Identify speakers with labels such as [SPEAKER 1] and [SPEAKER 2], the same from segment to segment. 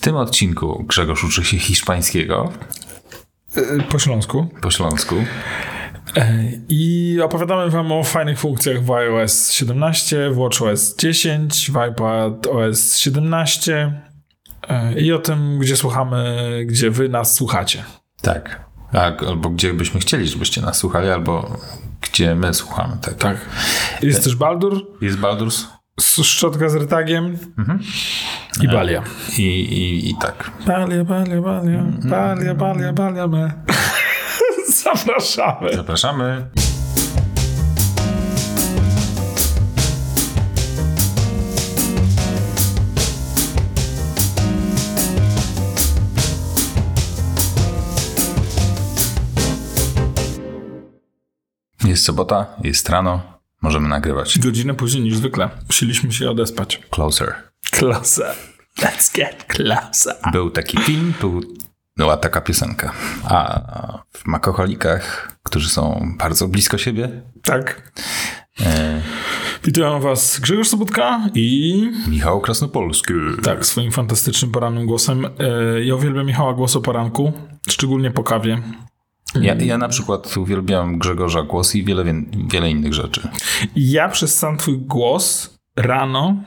[SPEAKER 1] tym odcinku Grzegorz uczy się hiszpańskiego
[SPEAKER 2] y, Po śląsku.
[SPEAKER 1] po śląsku.
[SPEAKER 2] I opowiadamy wam o fajnych funkcjach w iOS 17, w WatchOS 10, w iPadOS 17 e, i o tym, gdzie słuchamy, gdzie wy nas słuchacie.
[SPEAKER 1] Tak. A, albo gdzie byśmy chcieli, żebyście nas słuchali, albo gdzie my słuchamy. Tak.
[SPEAKER 2] Tak. Jest też Baldur,
[SPEAKER 1] Jest Baldur's
[SPEAKER 2] s- szczotka z rytagiem i Balia.
[SPEAKER 1] i, i, i tak.
[SPEAKER 2] Balia, balia, balia, balia, balia, balia, me. Zapraszamy.
[SPEAKER 1] Zapraszamy. Jest sobota, jest rano, możemy nagrywać.
[SPEAKER 2] Godzinę później niż zwykle. Musieliśmy się odespać.
[SPEAKER 1] Closer.
[SPEAKER 2] Klasa. Let's get klasa.
[SPEAKER 1] Był taki film, był, była taka piosenka. A w makoholikach, którzy są bardzo blisko siebie,
[SPEAKER 2] Tak.
[SPEAKER 1] e,
[SPEAKER 2] Witam was Grzegorz Sobotka i
[SPEAKER 1] Michał Krasnopolski.
[SPEAKER 2] tak, swoim fantastycznym porannym głosem. E, Ja uwielbiam Michała głos o poranku, szczególnie po kawie.
[SPEAKER 1] Ja, ja na przykład uwielbiam Grzegorza Głos i wiele, wię- wiele innych rzeczy.
[SPEAKER 2] I ja przez sam twój głos rano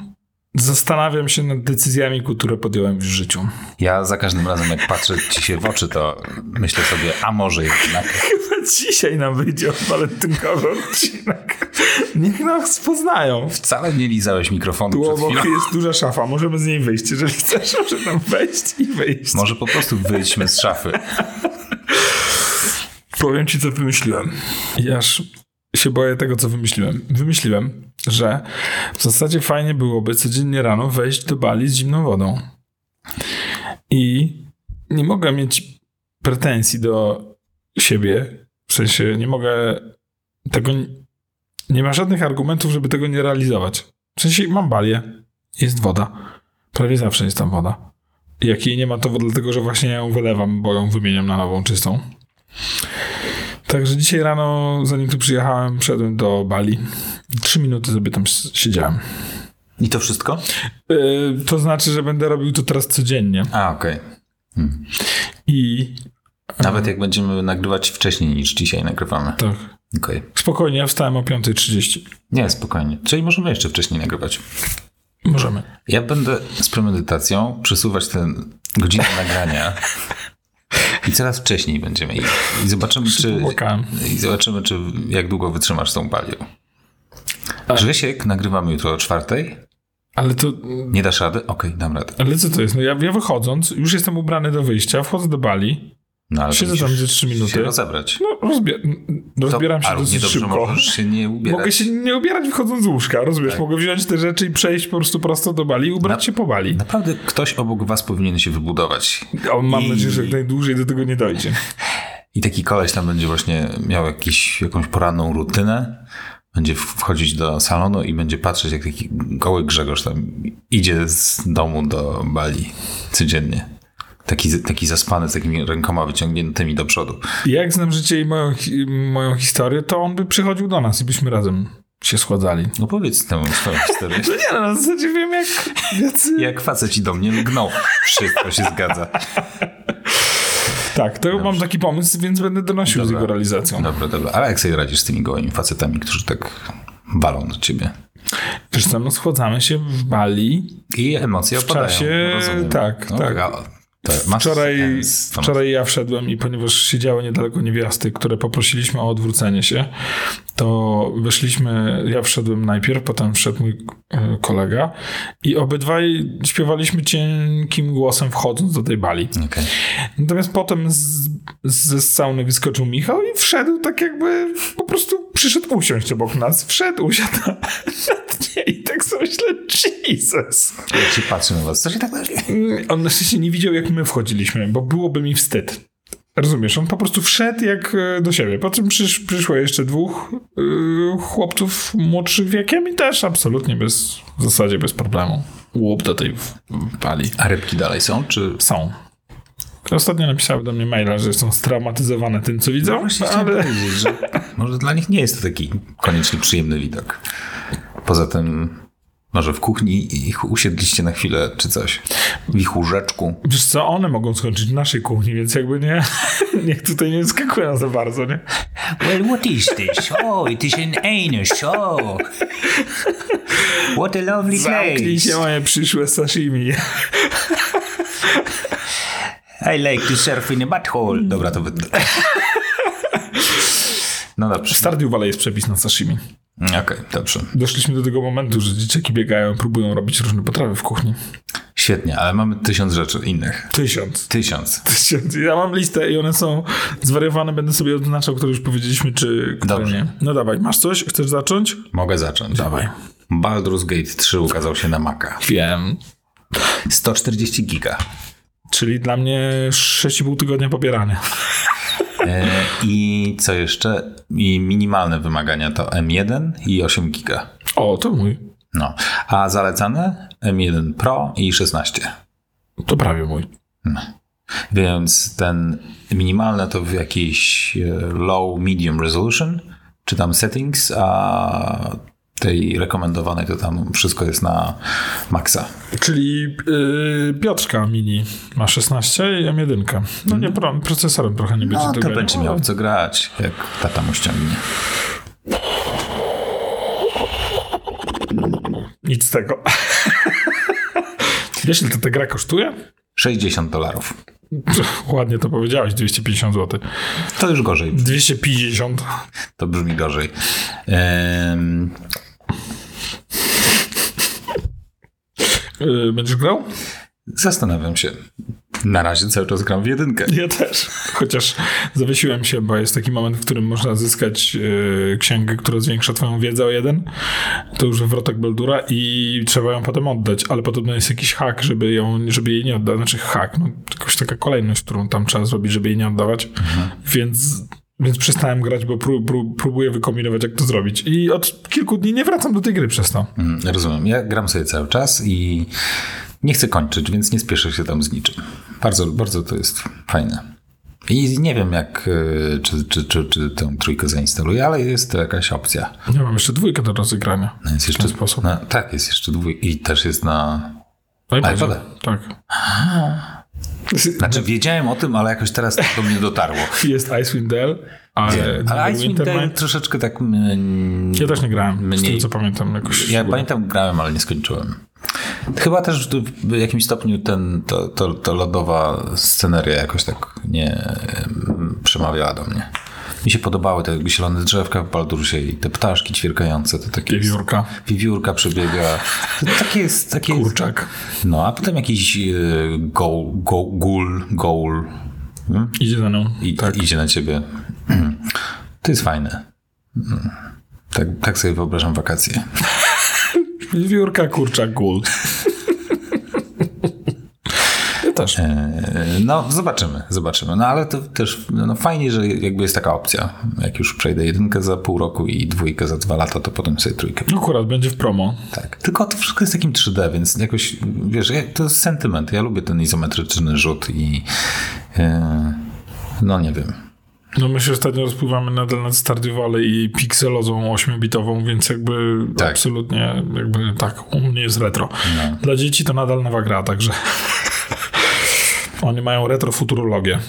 [SPEAKER 2] zastanawiam się nad decyzjami, które podjąłem w życiu.
[SPEAKER 1] Ja za każdym razem, jak patrzę ci się w oczy, to myślę sobie, a może jednak.
[SPEAKER 2] Chyba dzisiaj nam wyjdzie walentynkowy odcinek. Niech nas poznają.
[SPEAKER 1] Wcale nie lizałeś mikrofonu
[SPEAKER 2] Tu
[SPEAKER 1] przed chwilą.
[SPEAKER 2] obok jest duża szafa, możemy z niej wyjść. Jeżeli chcesz, możesz tam wejść i wyjść.
[SPEAKER 1] Może po prostu wyjdźmy z szafy.
[SPEAKER 2] Powiem ci, co wymyśliłem. I aż się boję tego, co wymyśliłem. Wymyśliłem, że w zasadzie fajnie byłoby codziennie rano wejść do bali z zimną wodą. I nie mogę mieć pretensji do siebie. W sensie nie mogę tego. Nie ma żadnych argumentów, żeby tego nie realizować. W sensie mam balię, jest woda. Prawie zawsze jest tam woda. Jak jej nie ma, to dlatego, że właśnie ja ją wylewam, bo ją wymieniam na nową czystą. Także dzisiaj rano, zanim tu przyjechałem, wszedłem do Bali. Trzy minuty sobie tam s- siedziałem.
[SPEAKER 1] I to wszystko?
[SPEAKER 2] Yy, to znaczy, że będę robił to teraz codziennie.
[SPEAKER 1] A, okej.
[SPEAKER 2] I
[SPEAKER 1] Nawet jak będziemy nagrywać wcześniej niż dzisiaj nagrywamy.
[SPEAKER 2] tak.
[SPEAKER 1] Okej.
[SPEAKER 2] Spokojnie, ja wstałem o 5.30.
[SPEAKER 1] Nie, spokojnie. Czyli możemy jeszcze wcześniej nagrywać.
[SPEAKER 2] Możemy.
[SPEAKER 1] Ja będę z premedytacją przesuwać tę godzinę nagrania. I coraz wcześniej będziemy. I, i zobaczymy, czy.
[SPEAKER 2] Płakałem.
[SPEAKER 1] I zobaczymy, czy jak długo wytrzymasz tą palią.
[SPEAKER 2] Tak.
[SPEAKER 1] Grzesiek, nagrywamy jutro o czwartej.
[SPEAKER 2] Ale to.
[SPEAKER 1] Nie dasz rady? Okej, dam radę.
[SPEAKER 2] Ale co to jest? No ja, ja wychodząc, już jestem ubrany do wyjścia, wchodzę do Bali,
[SPEAKER 1] No, ale to
[SPEAKER 2] siedzę tam
[SPEAKER 1] musisz
[SPEAKER 2] ze trzy
[SPEAKER 1] się
[SPEAKER 2] minuty.
[SPEAKER 1] rozebrać.
[SPEAKER 2] No, rozbie- no, rozbieram
[SPEAKER 1] To-
[SPEAKER 2] się
[SPEAKER 1] a równie
[SPEAKER 2] dosyć
[SPEAKER 1] dobrze
[SPEAKER 2] szybko.
[SPEAKER 1] możesz się nie ubierać.
[SPEAKER 2] Mogę się nie ubierać wychodząc z łóżka, rozumiesz? Mogę wziąć te rzeczy i przejść po prostu prosto do Bali i ubrać
[SPEAKER 1] Na-
[SPEAKER 2] się po Bali.
[SPEAKER 1] Naprawdę ktoś obok was powinien się wybudować.
[SPEAKER 2] O, mam
[SPEAKER 1] I-
[SPEAKER 2] nadzieję, że jak najdłużej do tego nie dojdzie.
[SPEAKER 1] I taki koleś tam będzie właśnie miał jakiś, jakąś poranną rutynę. Będzie w- wchodzić do salonu i będzie patrzeć, jak taki goły Grzegorz tam idzie z domu do Bali codziennie. Taki, taki zaspany z takimi rękoma wyciągniętymi do przodu.
[SPEAKER 2] Jak znam życie i moją, hi- moją historię, to on by przychodził do nas i byśmy razem się schładzali.
[SPEAKER 1] No powiedz tę swoją historię.
[SPEAKER 2] No nie, no, na zasadzie wiem, jak, jacy...
[SPEAKER 1] Jak faceci do mnie lgną. Wszystko się zgadza.
[SPEAKER 2] Tak, to mam taki pomysł, więc będę donosił z jego realizacją.
[SPEAKER 1] Dobra, dobra. Ale jak sobie radzisz z tymi gołymi facetami, którzy tak walą do ciebie?
[SPEAKER 2] Wiesz co, no schładzamy się w Bali.
[SPEAKER 1] I emocje
[SPEAKER 2] W
[SPEAKER 1] opadają.
[SPEAKER 2] czasie-
[SPEAKER 1] rozumiem.
[SPEAKER 2] tak,
[SPEAKER 1] No,
[SPEAKER 2] tak.
[SPEAKER 1] a- To masz
[SPEAKER 2] Wczoraj,
[SPEAKER 1] sens, to masz
[SPEAKER 2] wczoraj ja wszedłem i ponieważ siedziały niedaleko niewiasty, które poprosiliśmy o odwrócenie się, to weszliśmy, ja wszedłem najpierw, potem wszedł mój e, kolega i obydwaj śpiewaliśmy cienkim głosem wchodząc do tej Bali.
[SPEAKER 1] Okej.
[SPEAKER 2] Natomiast potem z, ze sauny wyskoczył Michał i wszedł tak jakby po prostu przyszedł usiąść obok nas. Wszedł, usiadł na, na dnie i tak sobie myślę, Jesus.
[SPEAKER 1] Jak się patrzy na was, co się tak nagle...
[SPEAKER 2] Mm, On na szczęście nie widział, jak my wchodziliśmy, bo byłoby mi wstyd. Rozumiesz, on po prostu wszedł jak e, do siebie. Po czym przysz, przyszło jeszcze dwóch y, chłopców młodszych wiekiem i też absolutnie bez, w zasadzie bez problemu. Łup do tej w- w pali.
[SPEAKER 1] A rybki dalej są, czy...
[SPEAKER 2] Są. Ostatnio napisały do mnie maila, że są straumatyzowane tym, co widzą, ale
[SPEAKER 1] powiedzieć, że może dla nich nie jest to taki koniecznie przyjemny widok. Poza tym Może w kuchni i ich usiedliście na chwilę czy coś. W ich łóżeczku.
[SPEAKER 2] Wiesz co, one mogą skończyć w naszej kuchni, więc jakby nie, niech tutaj nie skakują za bardzo, nie?
[SPEAKER 1] Well, what is this? Oh, it is an anus. Oh. What a lovely
[SPEAKER 2] Zamknij się moje przyszłe sashimi.
[SPEAKER 1] I like to surf in a butthole. Dobra, to wytnę. No dobrze.
[SPEAKER 2] W Stardew Valley jest przepis na sashimi.
[SPEAKER 1] Okej, dobrze.
[SPEAKER 2] Doszliśmy do tego momentu, że dzieciaki biegają, próbują robić różne potrawy w kuchni.
[SPEAKER 1] Świetnie, ale mamy tysiąc rzeczy innych.
[SPEAKER 2] Tysiąc.
[SPEAKER 1] Tysiąc.
[SPEAKER 2] Tysiąc. Ja mam listę i one są zwariowane. Będę sobie odznaczał, które już powiedzieliśmy, czy które
[SPEAKER 1] Dobrze.
[SPEAKER 2] nie. No dawaj, masz coś? Chcesz zacząć?
[SPEAKER 1] Mogę zacząć.
[SPEAKER 2] Dawaj.
[SPEAKER 1] Baldur's Gate 3 ukazał się na Maca.
[SPEAKER 2] Wiem.
[SPEAKER 1] 140 giga.
[SPEAKER 2] Czyli dla mnie 6,5 tygodnia pobierania.
[SPEAKER 1] E, I co jeszcze? I minimalne wymagania to M1 i 8 giga.
[SPEAKER 2] O, to mój.
[SPEAKER 1] No. A zalecane M1 Pro i 16.
[SPEAKER 2] To prawie mój.
[SPEAKER 1] Więc ten minimalne to w jakiś e, low, medium resolution, czy tam settings, a tej rekomendowanej to tam wszystko jest na maksa.
[SPEAKER 2] Czyli yy, Piotrka Mini ma 16 i M1. No nie, pro, procesorem trochę nie będzie
[SPEAKER 1] No, to
[SPEAKER 2] tego.
[SPEAKER 1] będzie miał w co grać, jak tata mu ściągnie.
[SPEAKER 2] Nic z tego. Wiesz, ile to ta gra kosztuje?
[SPEAKER 1] 60 dolarów.
[SPEAKER 2] Ładnie to powiedziałeś, 250 zł.
[SPEAKER 1] To już gorzej.
[SPEAKER 2] 250.
[SPEAKER 1] To brzmi gorzej. Em,
[SPEAKER 2] Yy, będziesz grał?
[SPEAKER 1] zastanawiam się. Na razie cały czas gram w jedynkę.
[SPEAKER 2] Ja też. Chociaż zawiesiłem się, bo jest taki moment, w którym można zyskać yy, księgę, która zwiększa twoją wiedzę o jeden. To już wrotek Beldura i trzeba ją potem oddać, ale podobno jest jakiś hak, żeby, ją, żeby jej nie oddać. Znaczy hak, no jakaś taka kolejność, którą tam trzeba zrobić, żeby jej nie oddawać. Więc... Więc przestałem grać, bo pró, pró, próbuję wykombinować, jak to zrobić. I od kilku dni nie wracam do tej gry przez to.
[SPEAKER 1] Mm, Rozumiem. Ja gram sobie cały czas i nie chcę kończyć, więc nie spieszę się tam z niczym. Bardzo, bardzo to jest fajne. I nie wiem, jak, y, czy, czy, czy, czy tę trójkę zainstaluję, ale jest to jakaś opcja.
[SPEAKER 2] Ja mam jeszcze dwójkę do rozegrania.
[SPEAKER 1] No Jest jeszcze,
[SPEAKER 2] sposób.
[SPEAKER 1] No, tak, jest jeszcze dwój i też jest na...
[SPEAKER 2] No i
[SPEAKER 1] Ale
[SPEAKER 2] potem-
[SPEAKER 1] źle.
[SPEAKER 2] Tak.
[SPEAKER 1] Znaczy wiedziałem o tym, ale jakoś teraz to do mnie dotarło. E,
[SPEAKER 2] Jest Icewind Dale, ale,
[SPEAKER 1] Ale Icewind Dale
[SPEAKER 2] Wintermine-
[SPEAKER 1] troszeczkę tak... mm,
[SPEAKER 2] Ja też nie grałem, z
[SPEAKER 1] Mniej.
[SPEAKER 2] tym co pamiętam. Jakoś
[SPEAKER 1] Ja pamiętam, grałem, ale nie skończyłem. Chyba też w w jakimś stopniu ten, to, to, to lodowa sceneria jakoś tak nie em, przemawiała do mnie. Mi się podobały te jakby zielone drzewka w Baldursie i te ptaszki ćwierkające, to takie jest-
[SPEAKER 2] Wiewiórka,
[SPEAKER 1] wiewiórka przebiega. To Takie jest, takie jest.
[SPEAKER 2] kurczak.
[SPEAKER 1] No, a potem jakiś e, goł, goł, gul, goul hmm?
[SPEAKER 2] Idzie za mną.
[SPEAKER 1] I,
[SPEAKER 2] tak.
[SPEAKER 1] idzie na ciebie. To jest fajne. Mm. Tak, tak sobie wyobrażam wakacje.
[SPEAKER 2] Wiewiórka, kurczak, gul. ja też.
[SPEAKER 1] E, No, zobaczymy, zobaczymy. No, ale to też no, fajnie, że jakby jest taka opcja. Jak już przejdę jedynkę za pół roku i dwójkę za dwa lata, to potem sobie trójkę.
[SPEAKER 2] No Akurat będzie w promo.
[SPEAKER 1] Tak. Tylko to wszystko jest takim 3D, więc jakoś, wiesz, ja- to jest sentyment. Ja lubię ten izometryczny rzut i e, no nie wiem.
[SPEAKER 2] No my się ostatnio rozpływamy nadal nad Stardew Valley i pikselozą 8-bitową, więc jakby
[SPEAKER 1] Tak. No.
[SPEAKER 2] absolutnie jakby tak, u mnie jest retro. Dla dzieci to nadal nowa gra, także oni mają retrofuturologię.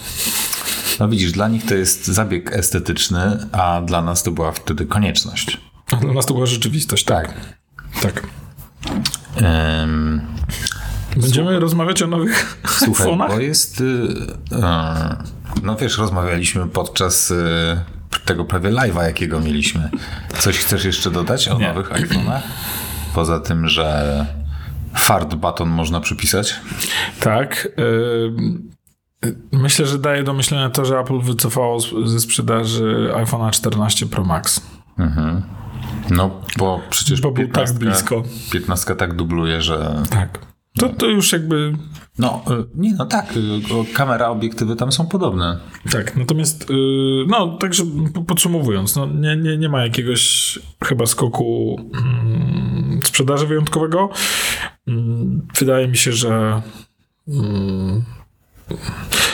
[SPEAKER 1] No widzisz, dla nich to jest zabieg estetyczny, a dla nas to była wtedy konieczność.
[SPEAKER 2] A Dla nas to była rzeczywistość, tak. Tak.
[SPEAKER 1] Em,
[SPEAKER 2] Będziemy rozmawiać o nowych
[SPEAKER 1] Słuchaj,
[SPEAKER 2] iPhone'ach?
[SPEAKER 1] bo jest. Y, y, no wiesz, rozmawialiśmy podczas y, tego prawie live'a, jakiego mieliśmy. Coś chcesz jeszcze dodać o
[SPEAKER 2] Nie.
[SPEAKER 1] nowych iPhone'ach? Poza tym, że fart baton można przypisać.
[SPEAKER 2] Tak. ym, Myślę, że daje do myślenia to, że Apple wycofało z- ze sprzedaży iPhone'a 14 Pro Max.
[SPEAKER 1] No, bo przecież
[SPEAKER 2] Bo był tak
[SPEAKER 1] 15
[SPEAKER 2] blisko.
[SPEAKER 1] 15 tak dubluje, że.
[SPEAKER 2] Tak. To, to już jakby.
[SPEAKER 1] No, y, nie, no tak. y, o, Kamera, obiektywy tam są podobne.
[SPEAKER 2] Tak. Natomiast, yy, no, także po- podsumowując, no, nie, nie, nie ma jakiegoś chyba skoku mm, sprzedaży wyjątkowego. Mm, wydaje mi się, że. Mm,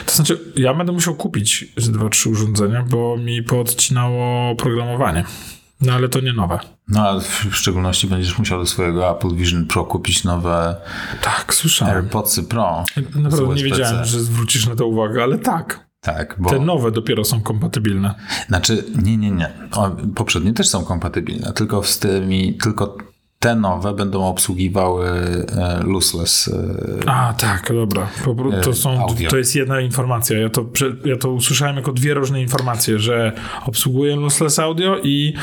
[SPEAKER 2] to znaczy, ja będę musiał kupić z 2-3 urządzenia, bo mi poodcinało programowanie. No ale to nie nowe.
[SPEAKER 1] No a w szczególności będziesz musiał do swojego Apple Vision Pro kupić nowe
[SPEAKER 2] Tak, słyszałem.
[SPEAKER 1] AirPodsy Pro. z
[SPEAKER 2] Tak. Naprawdę nie
[SPEAKER 1] USB-C.
[SPEAKER 2] wiedziałem, że zwrócisz na to uwagę, ale tak.
[SPEAKER 1] Tak, bo...
[SPEAKER 2] Te nowe dopiero są kompatybilne.
[SPEAKER 1] Znaczy, nie, nie, nie. O, poprzednie też są kompatybilne, tylko z tymi, tylko te nowe będą obsługiwały e, lossless. E,
[SPEAKER 2] A, tak, dobra. Po, pro- to,
[SPEAKER 1] E,
[SPEAKER 2] są,
[SPEAKER 1] audio.
[SPEAKER 2] to jest jedna informacja. Ja to, prze- ja to usłyszałem jako dwie różne informacje, że obsługuję lossless audio i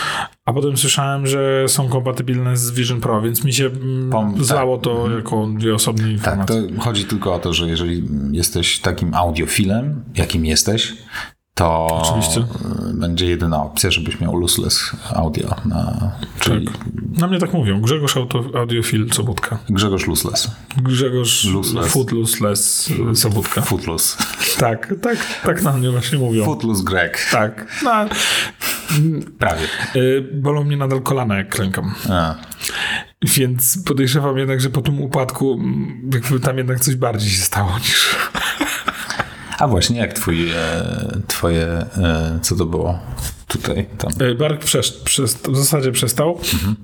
[SPEAKER 2] a potem słyszałem, że są kompatybilne z Vision Pro, więc mi się mm,
[SPEAKER 1] Pom- tak.
[SPEAKER 2] zlało to jako dwie osobne
[SPEAKER 1] tak,
[SPEAKER 2] informacje.
[SPEAKER 1] to chodzi tylko o to, że jeżeli jesteś takim audiofilem, jakim jesteś, to
[SPEAKER 2] Oczywiście.
[SPEAKER 1] e, będzie jedyna opcja, żebyś miał lossless audio. Na, czyli
[SPEAKER 2] Na mnie tak mówią. Grzegorz Auto- Audiofil Sobotka.
[SPEAKER 1] Grzegorz Lossless.
[SPEAKER 2] Grzegorz
[SPEAKER 1] Looseless.
[SPEAKER 2] Footlooseless Sobotka.
[SPEAKER 1] Footloose.
[SPEAKER 2] Tak, tak, tak na mnie właśnie mówią.
[SPEAKER 1] Footloose Greg.
[SPEAKER 2] tak. No,
[SPEAKER 1] Prawie.
[SPEAKER 2] y, bolą mnie nadal kolana, jak klękam.
[SPEAKER 1] A,
[SPEAKER 2] Więc podejrzewam jednak, że po tym upadku mm, jakby tam jednak coś bardziej się stało niż...
[SPEAKER 1] A właśnie, jak twój, e, twoje, e, co to było tutaj, tam. Mhm.
[SPEAKER 2] Y, Bark przesz, przes- w zasadzie przestał.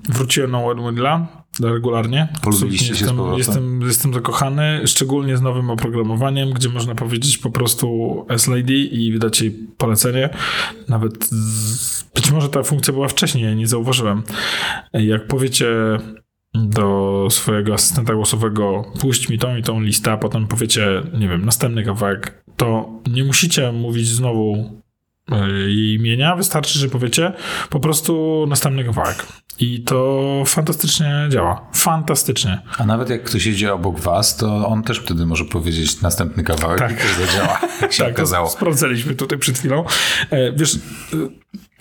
[SPEAKER 2] Wróciłem na Wedmilla regularnie.
[SPEAKER 1] Polubiliście się z
[SPEAKER 2] jestem,
[SPEAKER 1] powrotem?
[SPEAKER 2] jestem, jestem zakochany, szczególnie z nowym oprogramowaniem, gdzie można powiedzieć po prostu SLID i wydać jej polecenie. Nawet z, być może ta funkcja była wcześniej, ja jej nie zauważyłem. E, Jak powiecie do swojego asystenta głosowego puść mi tą i tą listę, a potem powiecie, nie wiem, następny kawałek, to nie musicie mówić znowu e, jej imienia, wystarczy, że powiecie po prostu następny kawałek. I to fantastycznie działa. Fantastycznie.
[SPEAKER 1] A nawet jak ktoś jedzie obok was, to on też wtedy może powiedzieć następny kawałek
[SPEAKER 2] Tak.
[SPEAKER 1] i też zadziała, jak się
[SPEAKER 2] to
[SPEAKER 1] okazało.
[SPEAKER 2] Tak, sprawdzaliśmy tutaj przed chwilą. E, Wiesz,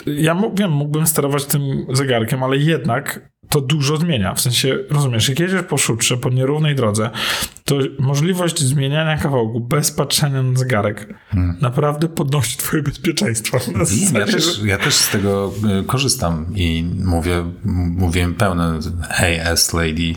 [SPEAKER 2] e, ja mo- wiem, mógłbym sterować tym zegarkiem, ale jednak to dużo zmienia. W sensie, rozumiesz, jak jedziesz po szutrze, po nierównej drodze, to możliwość zmieniania kawałku bez patrzenia na zegarek naprawdę podnosi twoje bezpieczeństwo. Na
[SPEAKER 1] Hmm. Wiem, Ja
[SPEAKER 2] zasadzie,
[SPEAKER 1] też,
[SPEAKER 2] że-
[SPEAKER 1] ja też z tego y, korzystam i mówię, m- mówiłem pełne Hey S Lady,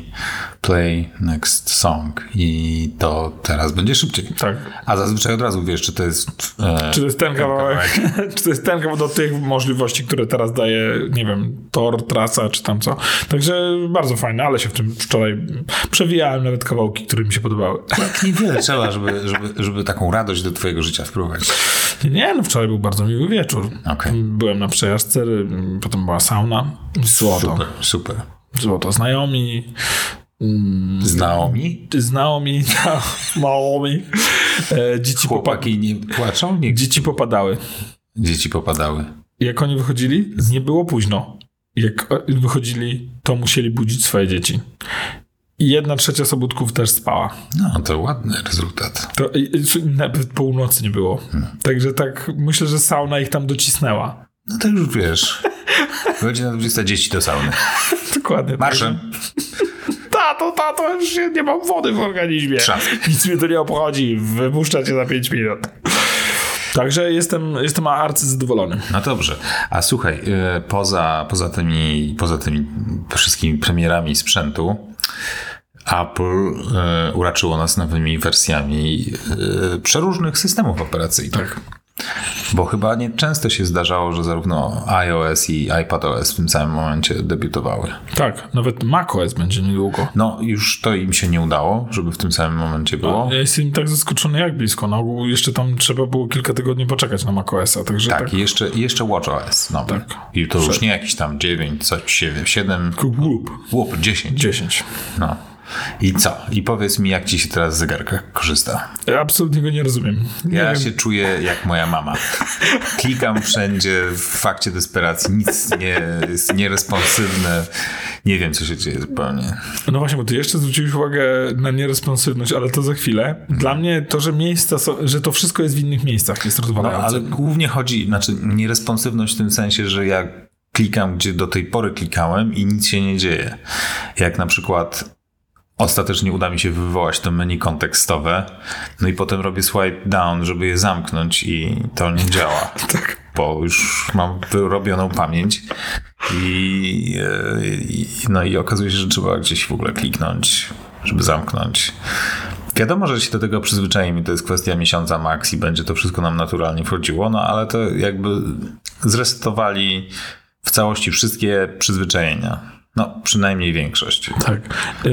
[SPEAKER 1] play next song i to teraz będzie szybciej.
[SPEAKER 2] Tak.
[SPEAKER 1] A zazwyczaj od razu wiesz, czy to jest... E,
[SPEAKER 2] Czy to jest ten kawałek? czy to jest ten kawałek do tych możliwości, które teraz daje, nie wiem, tor, trasa, czy tam co. Także bardzo fajne, ale się w tym wczoraj przewijałem nawet kawałki, które mi się podobały.
[SPEAKER 1] jak tak niewiele trzeba, żeby, żeby, żeby taką radość do twojego życia wprowadzić.
[SPEAKER 2] Nie, no wczoraj był bardzo miły wieczór.
[SPEAKER 1] Okej.
[SPEAKER 2] Byłem na przejażdżce, y, potem była sauna. Złoto.
[SPEAKER 1] Super, super.
[SPEAKER 2] Złoto. Znajomi. mm,
[SPEAKER 1] Znaomi?
[SPEAKER 2] Znajomi, małomi. E, dzieci, popa-
[SPEAKER 1] Chłopaki nie płaczą? Nie.
[SPEAKER 2] dzieci popadały.
[SPEAKER 1] Dzieci popadały.
[SPEAKER 2] jak oni wychodzili, nie było późno. Jak o- wychodzili, to musieli budzić swoje dzieci. I jedna trzecia sobótków też spała.
[SPEAKER 1] No, to ładny rezultat.
[SPEAKER 2] To i- i- nawet północy nie było. Także tak myślę, że sauna ich tam docisnęła.
[SPEAKER 1] No to już wiesz. Godzina 20 dzieci do sauny.
[SPEAKER 2] Dokładnie. tak.
[SPEAKER 1] Marszem.
[SPEAKER 2] Tato, tato, już ja nie mam wody w organizmie.
[SPEAKER 1] Trzask.
[SPEAKER 2] Nic mnie to nie obchodzi. Wypuszcza cię za 5 minut. Także jestem, jestem arcyzadowolony.
[SPEAKER 1] No dobrze. A słuchaj, y, poza, poza, tymi, poza tymi wszystkimi premierami sprzętu, Apple y, uraczyło nas nowymi wersjami y, przeróżnych systemów operacyjnych.
[SPEAKER 2] Tak.
[SPEAKER 1] Bo chyba nie często się zdarzało, że zarówno iOS i iPadOS w tym samym momencie debiutowały.
[SPEAKER 2] Tak, nawet macOS będzie niedługo.
[SPEAKER 1] No, już to im się nie udało, żeby w tym samym momencie było.
[SPEAKER 2] Ja jestem tak zaskoczony jak blisko. Na ogół jeszcze tam trzeba było kilka tygodni poczekać na macOS-a, także tak.
[SPEAKER 1] Tak, i jeszcze, i jeszcze WatchOS. No,
[SPEAKER 2] Tak.
[SPEAKER 1] I to już nie jakiś tam 9, coś 7, 7,
[SPEAKER 2] Głup.
[SPEAKER 1] łup, 10.
[SPEAKER 2] 10.
[SPEAKER 1] No. I co? I powiedz mi, jak ci się teraz z zegarka korzysta.
[SPEAKER 2] Ja absolutnie go nie rozumiem. Nie
[SPEAKER 1] Ja
[SPEAKER 2] wiem.
[SPEAKER 1] się czuję jak moja mama. Klikam wszędzie w fakcie desperacji, nic nie jest nieresponsywne. Nie wiem, co się dzieje zupełnie.
[SPEAKER 2] No właśnie, bo ty jeszcze zwróciłeś uwagę na nieresponsywność, ale to za chwilę. Dla mnie to, że miejsca są, że to wszystko jest w innych miejscach jest
[SPEAKER 1] No,
[SPEAKER 2] rozwalone.
[SPEAKER 1] ale głównie chodzi, znaczy nieresponsywność w tym sensie, że ja klikam, gdzie do tej pory klikałem i nic się nie dzieje. Jak na przykład ostatecznie uda mi się wywołać to menu kontekstowe, no i potem robię swipe down, żeby je zamknąć i to nie działa.
[SPEAKER 2] Tak.
[SPEAKER 1] Bo już mam wyrobioną pamięć i, e, i no i okazuje się, że trzeba gdzieś w ogóle kliknąć, żeby zamknąć. Wiadomo, że się do tego przyzwyczajemy, to jest kwestia miesiąca max i będzie to wszystko nam naturalnie wchodziło, no ale to jakby zresetowali w całości wszystkie przyzwyczajenia. No, przynajmniej większość.
[SPEAKER 2] Tak.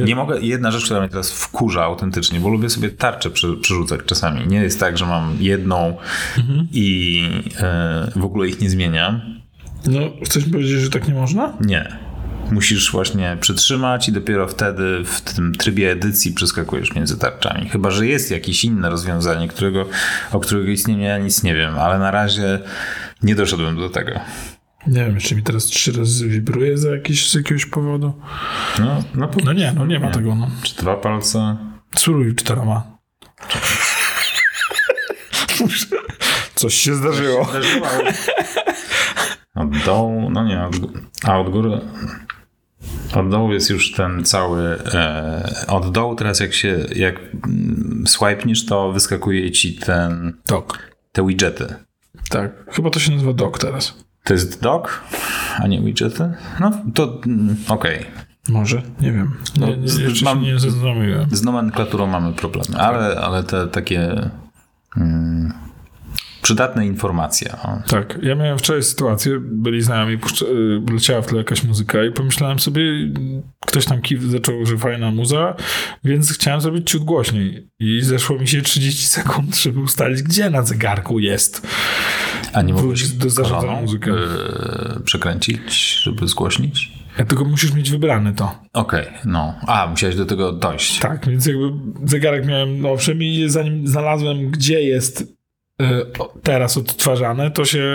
[SPEAKER 1] Nie mogę, jedna rzecz, która mnie teraz wkurza autentycznie, bo lubię sobie tarczę przy, przerzucać czasami. Nie jest tak, że mam jedną
[SPEAKER 2] Mhm.
[SPEAKER 1] i e, w ogóle ich nie zmieniam.
[SPEAKER 2] No, chcesz powiedzieć, że tak nie można?
[SPEAKER 1] Nie. Musisz właśnie przytrzymać i dopiero wtedy w tym trybie edycji przeskakujesz między tarczami. Chyba, że jest jakieś inne rozwiązanie, którego, o którego istnieniu ja nic nie wiem, ale na razie nie doszedłem do tego.
[SPEAKER 2] Nie wiem, czy mi teraz trzy razy wibruje za jakiś, z jakiegoś powodu.
[SPEAKER 1] No, no, po-
[SPEAKER 2] No nie, no nie ma tego. No.
[SPEAKER 1] czy dwa palce?
[SPEAKER 2] Suruj czteroma. Coś się zdarzyło.
[SPEAKER 1] Od dołu, no nie, od, gó- a od góry. Od dołu jest już ten cały. E, od dołu teraz, jak się. Jak mm, swipnisz, to wyskakuje ci ten,
[SPEAKER 2] Dok.
[SPEAKER 1] te widgety.
[SPEAKER 2] Tak. Chyba to się nazywa dok teraz.
[SPEAKER 1] To jest dock, a nie widgety? No to mm, okej.
[SPEAKER 2] Może? Nie wiem.
[SPEAKER 1] No,
[SPEAKER 2] Nie, nie,
[SPEAKER 1] z-
[SPEAKER 2] jeszcze
[SPEAKER 1] mam-
[SPEAKER 2] się nie zastanowiłem.
[SPEAKER 1] Z nomenklaturą mamy problemy, ale, ale te takie. Mm, przydatne informacje. O.
[SPEAKER 2] Tak, ja miałem wczoraj sytuację, byli znajomi, puszcza, y, leciała w tle jakaś muzyka i pomyślałem sobie, y, ktoś tam kiw zaczął, że fajna muza, więc chciałem zrobić ciut głośniej i zeszło mi się 30 sekund, żeby ustalić, gdzie na zegarku jest.
[SPEAKER 1] A nie mogłeś
[SPEAKER 2] Wróć do zarządzania
[SPEAKER 1] koloną,
[SPEAKER 2] muzyką.
[SPEAKER 1] y, przekręcić, żeby zgłośnić?
[SPEAKER 2] Ja tylko musisz mieć wybrane to.
[SPEAKER 1] Okej, no. A, musiałeś do tego dojść.
[SPEAKER 2] Tak, więc jakby zegarek miałem, no owszem, i zanim znalazłem, gdzie jest y, o- teraz odtwarzane, to się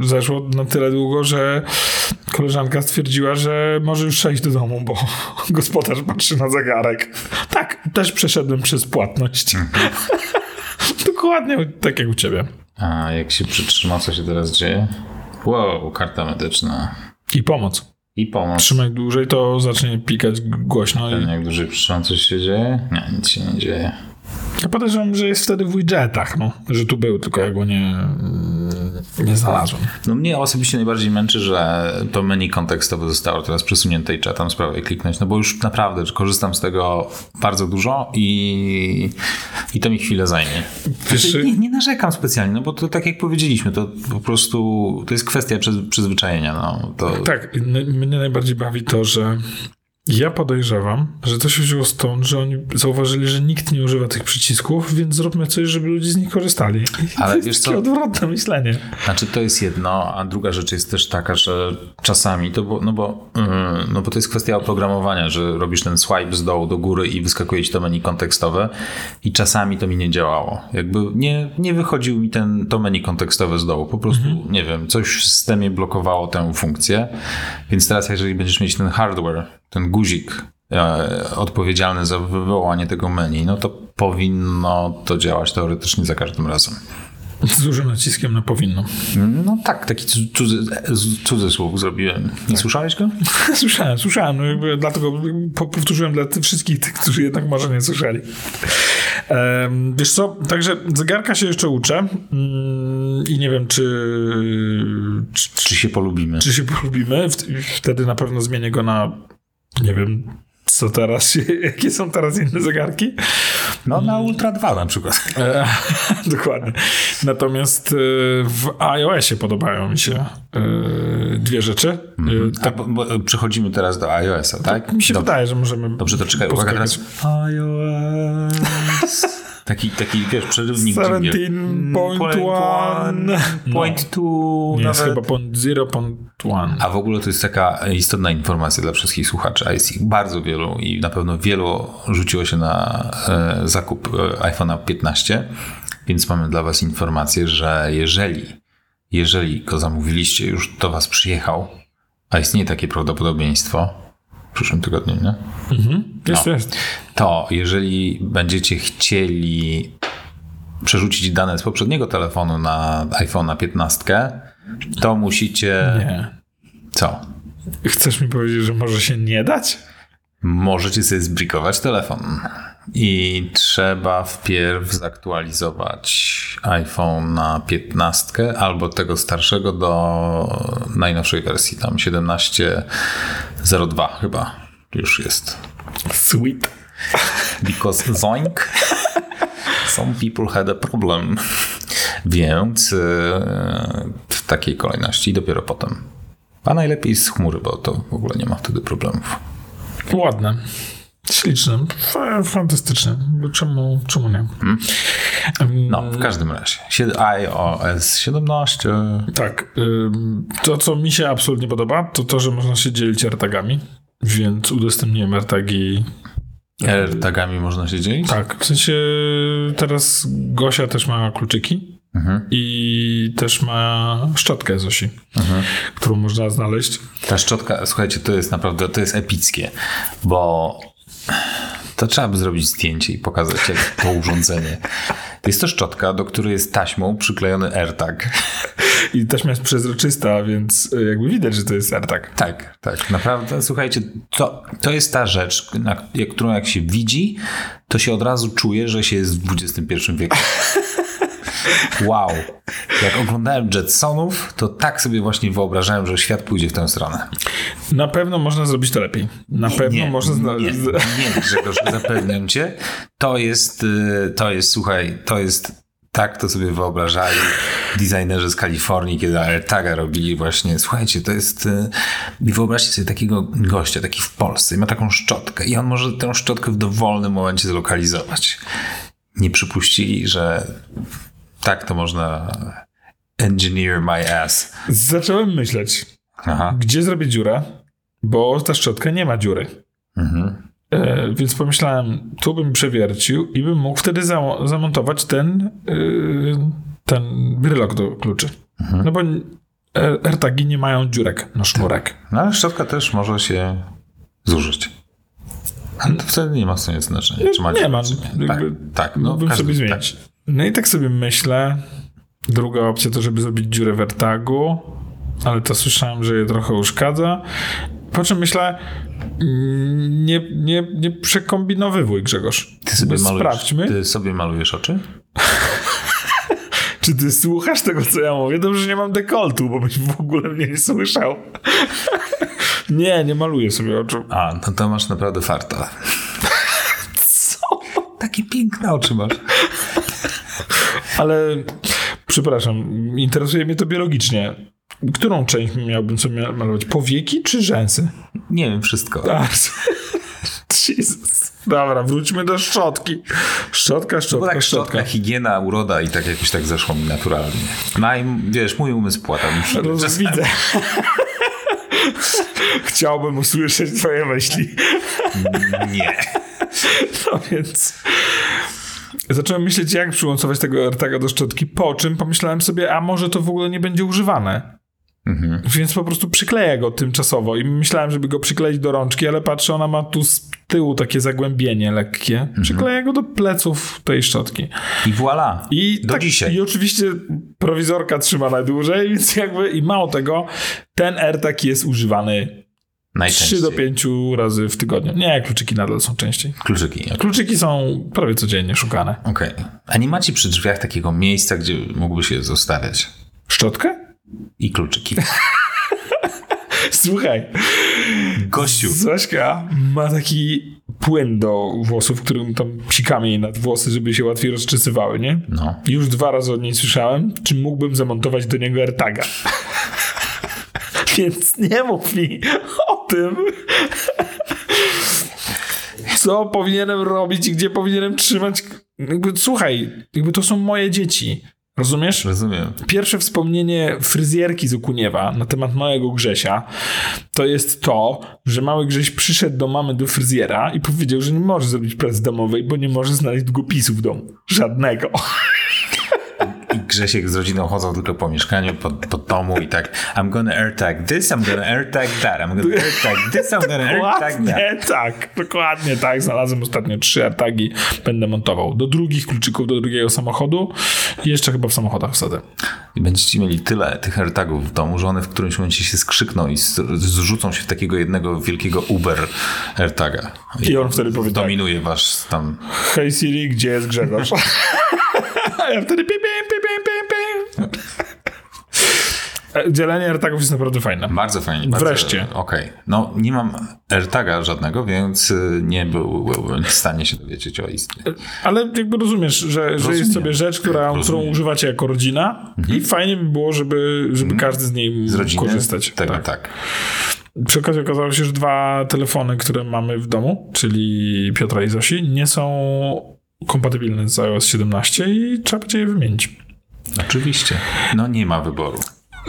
[SPEAKER 2] zeszło na tyle długo, że koleżanka stwierdziła, że może już przejść do domu, bo gospodarz patrzy na zegarek. Tak, też przeszedłem przez płatność. Dokładnie tak jak u ciebie.
[SPEAKER 1] A jak się przytrzyma, co się teraz dzieje? Wow, karta medyczna.
[SPEAKER 2] I pomoc.
[SPEAKER 1] I pomoc.
[SPEAKER 2] Trzymaj dłużej, to zacznie pikać głośno. I...
[SPEAKER 1] Jak dłużej przytrzyma, coś się dzieje? Nie, nic się nie dzieje.
[SPEAKER 2] Ja podejrzewam, że jest wtedy w widgetach, no. Że tu był, tylko ja go nie, nie znalazłem.
[SPEAKER 1] No mnie osobiście najbardziej męczy, że to menu kontekstowe zostało teraz przesunięte i trzeba tam z prawej kliknąć, no bo już naprawdę korzystam z tego bardzo dużo i, i to mi chwilę zajmie.
[SPEAKER 2] Wiesz,
[SPEAKER 1] Znaczy, nie, nie narzekam specjalnie, no bo to tak jak powiedzieliśmy, to po prostu to jest kwestia przyz- przyzwyczajenia. No, to,
[SPEAKER 2] tak, n- mnie najbardziej bawi to, że ja podejrzewam, że to się wzięło stąd, że oni zauważyli, że nikt nie używa tych przycisków, więc zróbmy coś, żeby ludzie z nich korzystali.
[SPEAKER 1] Ale
[SPEAKER 2] to jest
[SPEAKER 1] wiesz
[SPEAKER 2] takie
[SPEAKER 1] co?
[SPEAKER 2] odwrotne myślenie.
[SPEAKER 1] Znaczy to jest jedno, a druga rzecz jest też taka, że czasami to, bo, no, bo, mm, no bo to jest kwestia oprogramowania, że robisz ten swipe z dołu do góry i wyskakuje ci to menu kontekstowe i czasami to mi nie działało. Jakby nie, nie wychodził mi ten, to menu kontekstowe z dołu. Po prostu, nie wiem, coś w systemie blokowało tę funkcję, więc teraz jeżeli będziesz mieć ten hardware, ten guzik e, odpowiedzialny za wywołanie tego menu, no to powinno to działać teoretycznie za każdym razem.
[SPEAKER 2] Z dużym naciskiem na powinno.
[SPEAKER 1] No tak, taki cu- cudzy, z- cudzysłów zrobiłem. Nie słyszałeś go?
[SPEAKER 2] Słyszałem, słyszałem, no jakby dlatego po- powtórzyłem dla tych wszystkich tych, którzy jednak może nie słyszeli. Em, Wiesz co, także zegarka się jeszcze uczę mm, i nie wiem, czy, czy,
[SPEAKER 1] Czy się polubimy?
[SPEAKER 2] czy się polubimy. W- Wtedy na pewno zmienię go na, nie wiem, co teraz, się, jakie są teraz inne zegarki.
[SPEAKER 1] No na Ultra 2 na przykład.
[SPEAKER 2] E, Dokładnie. Natomiast e, w iOSie podobają mi się e, dwie rzeczy. E,
[SPEAKER 1] A, bo, bo przechodzimy teraz do iOS-a, tak?
[SPEAKER 2] Mi
[SPEAKER 1] Mhm.
[SPEAKER 2] się
[SPEAKER 1] Dobrze,
[SPEAKER 2] wydaje, że możemy.
[SPEAKER 1] dobrze to czekaj, uwaga
[SPEAKER 2] poskakać.
[SPEAKER 1] teraz. iOS. Taki, taki wiesz, przerywnik dźwięk.
[SPEAKER 2] 17.1
[SPEAKER 1] Point two,
[SPEAKER 2] no, jest
[SPEAKER 1] nawet.
[SPEAKER 2] chyba point zero, point one.
[SPEAKER 1] A w ogóle to jest taka istotna informacja dla wszystkich słuchaczy, a jest ich bardzo wielu i na pewno wielu rzuciło się na e, zakup e, iPhone'a 15, więc mamy dla Was informację, że jeżeli, jeżeli go zamówiliście, już do Was przyjechał, a istnieje takie prawdopodobieństwo w przyszłym tygodniu, nie?
[SPEAKER 2] Mhm. Jest, jest.
[SPEAKER 1] to jeżeli będziecie chcieli przerzucić dane z poprzedniego telefonu na iPhone'a 15, to musicie...
[SPEAKER 2] Nie.
[SPEAKER 1] Co?
[SPEAKER 2] Chcesz mi powiedzieć, że może się nie dać?
[SPEAKER 1] Możecie sobie zbrikować telefon. I trzeba wpierw zaktualizować iPhone na 15 albo tego starszego do najnowszej wersji, tam 17.02 chyba już jest.
[SPEAKER 2] Sweet.
[SPEAKER 1] Because zoink, some people had a problem. y, Więc e, w takiej kolejności i dopiero potem. A najlepiej z chmury, bo to w ogóle nie ma wtedy problemów.
[SPEAKER 2] Ładne. Śliczne. Fa- Fantastyczne. Bo Czemu, czemu nie?
[SPEAKER 1] Hmm? No, w każdym razie. Sied- iOS 17.
[SPEAKER 2] Tak. ym, To, co mi się absolutnie podoba, to to, że można się dzielić AirTagami. Więc udostępniłem AirTagi.
[SPEAKER 1] AirTagami można się dzielić?
[SPEAKER 2] Tak. W sensie teraz Gosia też ma kluczyki.
[SPEAKER 1] Mhm.
[SPEAKER 2] I też ma szczotkę Zosi,
[SPEAKER 1] Mhm.
[SPEAKER 2] którą można znaleźć.
[SPEAKER 1] Ta szczotka, słuchajcie, to jest naprawdę, to jest epickie, bo to trzeba by zrobić zdjęcie i pokazać jak to urządzenie. Jest to szczotka, do której jest taśmą przyklejony AirTag.
[SPEAKER 2] I taśma jest przezroczysta, więc y, jakby widać, że to jest AirTag.
[SPEAKER 1] Tak, tak. Naprawdę, słuchajcie, to, to jest ta rzecz, na, jak- którą jak się widzi, to się od razu czuje, że się jest w XXI wieku. Wow. Jak oglądałem Jetsonów, to tak sobie właśnie wyobrażałem, że świat pójdzie w tę stronę.
[SPEAKER 2] Na pewno można zrobić to lepiej. Na pewno można
[SPEAKER 1] nie,
[SPEAKER 2] znaleźć.
[SPEAKER 1] nie, Grzegorz, zapewniam cię. To jest, y, to jest, słuchaj, to jest tak to sobie wyobrażali designerzy z Kalifornii, kiedy AirTaga robili właśnie, słuchajcie, to jest y, i wyobraźcie sobie takiego gościa, taki w Polsce i ma taką szczotkę i on może tę szczotkę w dowolnym momencie zlokalizować. Nie przypuścili, że tak to można engineer my ass.
[SPEAKER 2] Zacząłem myśleć,
[SPEAKER 1] Aha.
[SPEAKER 2] gdzie zrobię dziurę, bo ta szczotka nie ma dziury.
[SPEAKER 1] Mhm.
[SPEAKER 2] E, więc pomyślałem, tu bym przewiercił i bym mógł wtedy zamo- zamontować ten, y, ten brylok do kluczy. No bo e, AirTagi nie mają dziurek na sznurek.
[SPEAKER 1] No ale szczotka też może się zużyć. Ale to wtedy nie ma w sumie znaczenia, czy ma
[SPEAKER 2] nie ma.
[SPEAKER 1] czy nie.
[SPEAKER 2] Jakby
[SPEAKER 1] Tak, tak, no
[SPEAKER 2] Mógłbym
[SPEAKER 1] każdy-
[SPEAKER 2] sobie
[SPEAKER 1] tak.
[SPEAKER 2] zmienić. No i tak sobie myślę. Druga opcja to, żeby zrobić dziurę w AirTagu, ale to słyszałem, że je trochę uszkadza. Po czym myślę, mm, nie, nie, nie przekombinowywuj Grzegorz.
[SPEAKER 1] Ty sobie, malujesz,
[SPEAKER 2] Sprawdźmy,
[SPEAKER 1] ty sobie malujesz oczy?
[SPEAKER 2] czy ty słuchasz tego, co ja mówię. Dobrze, że nie mam dekoltu, bo byś w ogóle mnie nie słyszał. nie, nie maluję sobie oczu.
[SPEAKER 1] A, no to masz naprawdę farta.
[SPEAKER 2] Co?
[SPEAKER 1] Takie piękne oczy masz.
[SPEAKER 2] Ale przepraszam, interesuje mnie to biologicznie. Którą część miałbym sobie malować? Powieki czy rzęsy?
[SPEAKER 1] Nie wiem, wszystko.
[SPEAKER 2] Tak. Jesus. Dobra, wróćmy do szczotki. Szczotka,
[SPEAKER 1] Bo
[SPEAKER 2] szczotka,
[SPEAKER 1] tak
[SPEAKER 2] szczotka.
[SPEAKER 1] szczotka, higiena, uroda i tak jakoś tak zeszło mi naturalnie. Naj, wiesz, mój umysł płata. mi się-
[SPEAKER 2] Roz-
[SPEAKER 1] czasami-
[SPEAKER 2] Widzę. Chciałbym usłyszeć twoje myśli.
[SPEAKER 1] Nie.
[SPEAKER 2] No więc... Zacząłem myśleć, jak przyłącować tego AirTaga do szczotki, po czym pomyślałem sobie, a może to w ogóle nie będzie używane.
[SPEAKER 1] Mhm.
[SPEAKER 2] Więc po prostu przykleję go tymczasowo i myślałem, żeby go przykleić do rączki, ale patrzę, ona ma tu z tyłu takie zagłębienie lekkie.
[SPEAKER 1] Mhm.
[SPEAKER 2] Przykleję go do pleców tej szczotki.
[SPEAKER 1] I voilà.
[SPEAKER 2] I tak,
[SPEAKER 1] Do dzisiaj.
[SPEAKER 2] I oczywiście prowizorka trzyma najdłużej, więc jakby i mało tego, ten AirTag jest używany 3
[SPEAKER 1] Najczęściej.
[SPEAKER 2] do 5 razy w tygodniu. Nie, kluczyki nadal są częściej.
[SPEAKER 1] Kluczyki.
[SPEAKER 2] Kluczyki są prawie codziennie szukane.
[SPEAKER 1] Okej. A nie macie przy drzwiach takiego miejsca, gdzie mógłby się zostawiać?
[SPEAKER 2] Szczotkę?
[SPEAKER 1] I kluczyki.
[SPEAKER 2] Słuchaj,
[SPEAKER 1] Gościu.
[SPEAKER 2] Zośka ma taki płyn do włosów, którym tam psikamy jej nad włosy, żeby się łatwiej rozczesywały, nie?
[SPEAKER 1] No.
[SPEAKER 2] Już dwa razy od niej słyszałem, czy mógłbym zamontować do niego AirTaga. Więc nie mów mi o tym, co powinienem robić i gdzie powinienem trzymać. Jakby, słuchaj, jakby to są moje dzieci. Rozumiesz?
[SPEAKER 1] Rozumiem.
[SPEAKER 2] Pierwsze wspomnienie fryzjerki z Okuniewa na temat małego Grzesia to jest to, że mały Grześ przyszedł do mamy do fryzjera i powiedział, że nie może zrobić pracy domowej, bo nie może znaleźć długopisu w domu. Żadnego.
[SPEAKER 1] I Grzesiek z rodziną chodzą tylko po mieszkaniu, po, po domu i tak I'm gonna AirTag this, I'm gonna AirTag that, I'm gonna AirTag this, I'm gonna AirTag that.
[SPEAKER 2] Dokładnie tak, dokładnie tak. Znalazłem ostatnio trzy AirTagi, będę montował. Do drugich kluczyków, do drugiego samochodu i jeszcze chyba w samochodach wsadzę.
[SPEAKER 1] I będziecie mieli tyle tych AirTagów w domu, że one w którymś momencie się skrzykną i z- zrzucą się w takiego jednego wielkiego Uber AirTaga.
[SPEAKER 2] I on wtedy powie tak,
[SPEAKER 1] Dominuje wasz tam...
[SPEAKER 2] hej Siri, gdzie jest Grzegorz? A ja wtedy pim, pim, pim, pim, pim, pim. E, Dzielenie AirTagów jest naprawdę fajne.
[SPEAKER 1] Bardzo fajnie. Bardzo,
[SPEAKER 2] Wreszcie.
[SPEAKER 1] Okej. No, nie mam AirTaga żadnego, więc y, nie byłbym w stanie się dowiedzieć o istnieniu.
[SPEAKER 2] Ale jakby rozumiesz, że, że
[SPEAKER 1] Rozumiem.
[SPEAKER 2] jest sobie rzecz, która, którą
[SPEAKER 1] Rozumiem. Mhm.
[SPEAKER 2] używacie jako rodzina i fajnie by było, żeby, żeby każdy z niej
[SPEAKER 1] Z rodziny.
[SPEAKER 2] korzystać.
[SPEAKER 1] Tego, tak.
[SPEAKER 2] Przy okazji okazało się, że dwa telefony, które mamy w domu, czyli Piotra i Zosi, nie są kompatybilne z iOS 17 i trzeba będzie je wymienić.
[SPEAKER 1] Oczywiście. No, nie ma wyboru.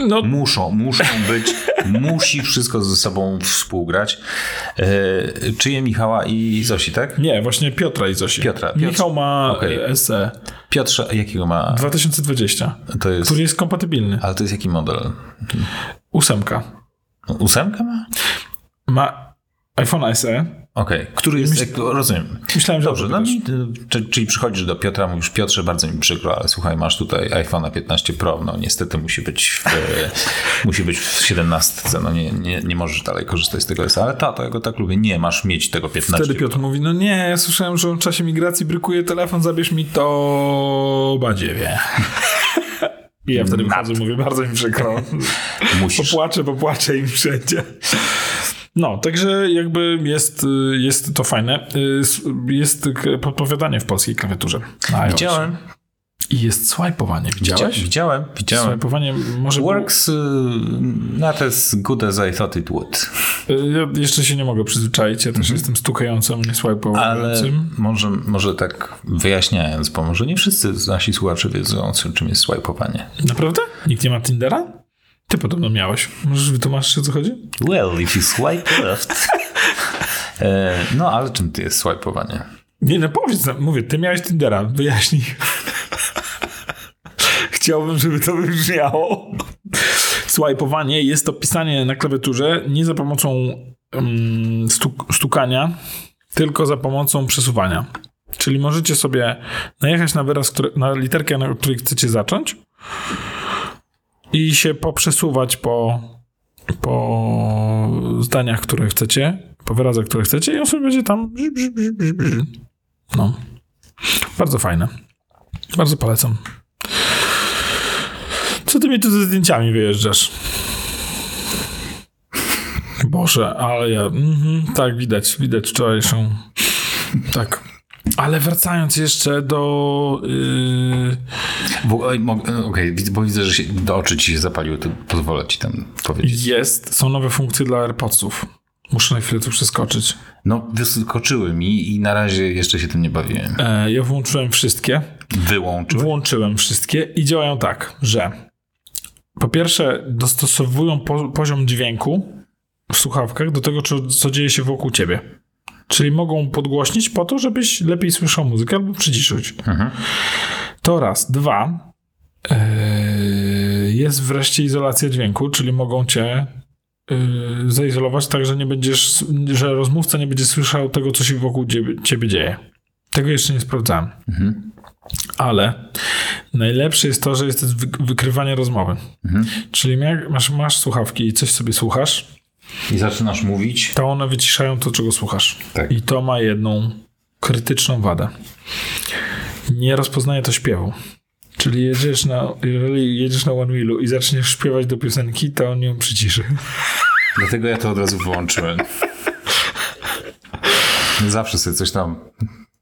[SPEAKER 2] No,
[SPEAKER 1] Muszą, muszą być, musi wszystko ze sobą współgrać. E, czyje Michała i Zosi, tak?
[SPEAKER 2] nie, właśnie Piotra i Zosi.
[SPEAKER 1] Piotra, Piotr-
[SPEAKER 2] Michał ma E
[SPEAKER 1] Okej. Tak.
[SPEAKER 2] SE
[SPEAKER 1] Piotrze, jakiego ma?
[SPEAKER 2] 2020,
[SPEAKER 1] To jest,
[SPEAKER 2] który jest kompatybilny.
[SPEAKER 1] ale to jest jaki model? No,
[SPEAKER 2] Ósemka.
[SPEAKER 1] Ósemkę ma?
[SPEAKER 2] Ma iPhone SE.
[SPEAKER 1] Okej. Który jest, jak- rozumiem.
[SPEAKER 2] Myślałem, że
[SPEAKER 1] Dobrze, no, i, y, czy- czyli przychodzisz do Piotra, mówisz Piotrze, bardzo mi przykro, ale słuchaj, masz tutaj iPhone'a 15 Pro, no niestety musi być w, e, musi być w 17, no nie, nie, nie możesz dalej korzystać z tego S, ale tato, ja go tak lubię, nie, masz mieć tego 15
[SPEAKER 2] Wtedy Piotr mówi, no nie, ja słyszałem, że w czasie migracji brykuje telefon, zabierz mi to badziewie. I ja wtedy wychodzę, mówię, bardzo mi przykro.
[SPEAKER 1] musisz.
[SPEAKER 2] Popłaczę, popłaczę im wszędzie. No, także jakby jest, y, jest to fajne. Y, s- Jest k- podpowiadanie w polskiej klawiaturze. na iOS.
[SPEAKER 1] Widziałem,
[SPEAKER 2] I jest swajpowanie, widziałeś?
[SPEAKER 1] widziałem, widziałem.
[SPEAKER 2] Swajpowanie może...
[SPEAKER 1] Works y, not as good as I thought it would,
[SPEAKER 2] było- y, Ja jeszcze się nie mogę przyzwyczaić, ja też jestem stukającym, nie
[SPEAKER 1] Mhm. ale
[SPEAKER 2] swajpowującym.
[SPEAKER 1] może, może tak wyjaśniając, bo może nie wszyscy z nasi słuchacze wiedzą, co- czym jest swajpowanie.
[SPEAKER 2] Naprawdę? Nikt nie ma Tindera? Ty podobno miałeś. Możesz wytłumaczyć, o co chodzi?
[SPEAKER 1] Well, if you swipe left. E, No, ale czym ty jest swajpowanie?
[SPEAKER 2] Nie, no powiedz nam. Mówię, ty miałeś Tindera. Wyjaśnij. Chciałbym, żeby to wybrzmiało. Swajpowanie jest to pisanie na klawiaturze nie za pomocą mm, stuk- stukania, tylko za pomocą przesuwania. Czyli możecie sobie najechać na wyraz, który, na literkę, na której chcecie zacząć i się poprzesuwać po, po zdaniach, które chcecie, po wyrazach, które chcecie i on sobie będzie tam brzy, brzy, brzy, brzy, brzy. No. Bardzo fajne. Bardzo polecam. Co ty mi tu ze zdjęciami wyjeżdżasz? Boże, ale ja... Mhm, tak, widać, widać wczorajszą... Tak. Ale wracając jeszcze do... Yy,
[SPEAKER 1] Bo, oj, mo- e, Okej, widz- bo widzę, że się, do oczy ci się zapaliły, to pozwolę ci tam powiedzieć.
[SPEAKER 2] Jest, są nowe funkcje dla AirPodsów. Muszę na chwilę tu przeskoczyć.
[SPEAKER 1] No, wyskoczyły mi i na razie jeszcze się tym nie bawiłem.
[SPEAKER 2] E, ja włączyłem wszystkie.
[SPEAKER 1] Wyłączyłem.
[SPEAKER 2] Włączyłem wszystkie i działają tak, że po pierwsze dostosowują po, poziom dźwięku w słuchawkach do tego, co, co dzieje się wokół ciebie. Czyli mogą podgłośnić po to, żebyś lepiej słyszał muzykę albo przyciszyć.
[SPEAKER 1] Mhm.
[SPEAKER 2] To raz. Dwa. Yy, jest wreszcie izolacja dźwięku, czyli mogą cię yy, zaizolować tak, że nie będziesz, że rozmówca nie będzie słyszał tego, co się wokół ciebie, ciebie dzieje. Tego jeszcze nie sprawdzałem.
[SPEAKER 1] Mhm.
[SPEAKER 2] Ale najlepsze jest to, że jest to wy- wykrywanie rozmowy.
[SPEAKER 1] Mhm.
[SPEAKER 2] Czyli jak masz, masz słuchawki i coś sobie słuchasz,
[SPEAKER 1] I zaczynasz mówić.
[SPEAKER 2] to one wyciszają to, czego słuchasz.
[SPEAKER 1] Tak.
[SPEAKER 2] I to ma jedną krytyczną wadę. Nie rozpoznaje to śpiewu. Czyli jedziesz na, jeżeli jedziesz na One Wheelu i zaczniesz śpiewać do piosenki, to on ją przyciszy.
[SPEAKER 1] Dlatego ja to od razu wyłączyłem. Zawsze sobie coś tam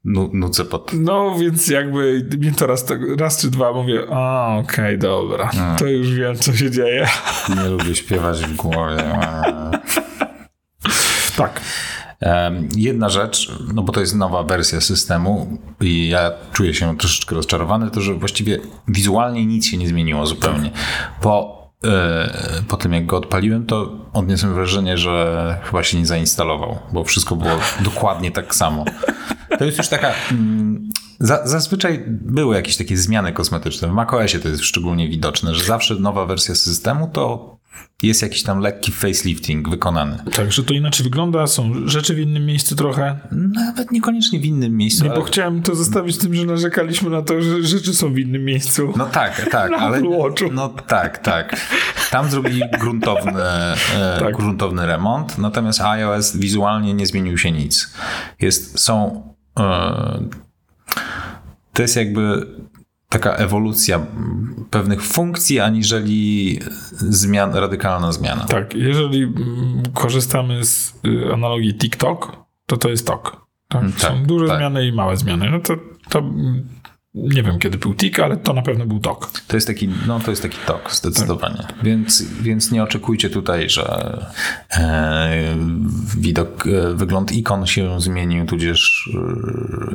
[SPEAKER 1] nu- nucę pod...
[SPEAKER 2] No, więc jakby mnie to raz, tak- raz czy dwa mówię, a okej, dobra, to już wiem, co się dzieje.
[SPEAKER 1] Nie lubię śpiewać w głowie.
[SPEAKER 2] Tak.
[SPEAKER 1] Em, Jedna rzecz, no bo to jest nowa wersja systemu i ja czuję się troszeczkę rozczarowany, to że właściwie wizualnie nic się nie zmieniło zupełnie. Po, e, po tym jak go odpaliłem, to odniosłem wrażenie, że chyba się nie zainstalował, bo wszystko było dokładnie tak samo. To jest już taka. mm, Za, zazwyczaj były jakieś takie zmiany kosmetyczne. W macOSie to jest szczególnie widoczne, że zawsze nowa wersja systemu to jest jakiś tam lekki facelifting wykonany.
[SPEAKER 2] Także to inaczej wygląda, są rzeczy w innym miejscu trochę.
[SPEAKER 1] Nawet niekoniecznie w innym miejscu.
[SPEAKER 2] Nie, bo
[SPEAKER 1] ale...
[SPEAKER 2] chciałem to zostawić tym, że narzekaliśmy na to, że rzeczy są w innym miejscu.
[SPEAKER 1] No tak, tak, ale.
[SPEAKER 2] Apple Watchu.
[SPEAKER 1] No tak, tak. Tam zrobili gruntowny, e,
[SPEAKER 2] Tak.
[SPEAKER 1] gruntowny remont, natomiast iOS wizualnie nie zmienił się nic. Jest, są. E, to jest jakby taka ewolucja mm, pewnych funkcji, aniżeli zmian, radykalna zmiana.
[SPEAKER 2] Tak, jeżeli mm, korzystamy z y, analogii TikTok, to to jest TOK. Tak?
[SPEAKER 1] Mm,
[SPEAKER 2] Są
[SPEAKER 1] tak,
[SPEAKER 2] duże
[SPEAKER 1] tak.
[SPEAKER 2] zmiany i małe zmiany. No to, to mm, nie wiem kiedy był TIK, ale to na pewno był TOK. Tak,
[SPEAKER 1] To jest taki, no to jest taki tok, zdecydowanie. Więc, więc nie oczekujcie tutaj, że e, widok, e, wygląd ikon się zmienił, tudzież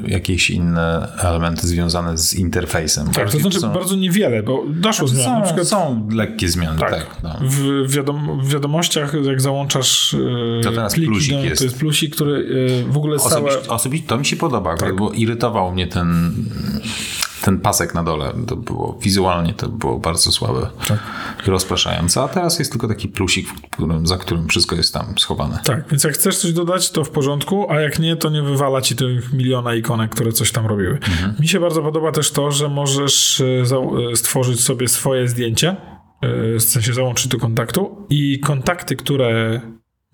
[SPEAKER 1] e, jakieś inne elementy związane z interfejsem.
[SPEAKER 2] Tak, to
[SPEAKER 1] Bardziej
[SPEAKER 2] znaczy
[SPEAKER 1] są,
[SPEAKER 2] bardzo niewiele, bo doszło zmian. na
[SPEAKER 1] są,
[SPEAKER 2] przykład
[SPEAKER 1] są lekkie zmiany, tak. no.
[SPEAKER 2] W, wiadom, w wiadomościach, jak załączasz yy,
[SPEAKER 1] To teraz
[SPEAKER 2] pliki,
[SPEAKER 1] plusik
[SPEAKER 2] do-
[SPEAKER 1] jest.
[SPEAKER 2] to jest plusik, który yy, w ogóle stałe...
[SPEAKER 1] Osobiście, osobiście to mi się podoba,
[SPEAKER 2] Tak.
[SPEAKER 1] akurat, bo irytował mnie ten, ten pasek na dole. To było wizualnie to było bardzo słabe
[SPEAKER 2] Tak.
[SPEAKER 1] i rozpraszające. A teraz jest tylko taki plusik, w którym, za którym wszystko jest tam schowane.
[SPEAKER 2] Tak, więc jak chcesz coś dodać, to w porządku, a jak nie, to nie wywala ci tych miliona ikonek, które coś tam robiły. Mi się bardzo podoba też to, że możesz e, zał- e, stworzyć sobie swoje zdjęcie, e, w sensie załączyć do kontaktu i kontakty, które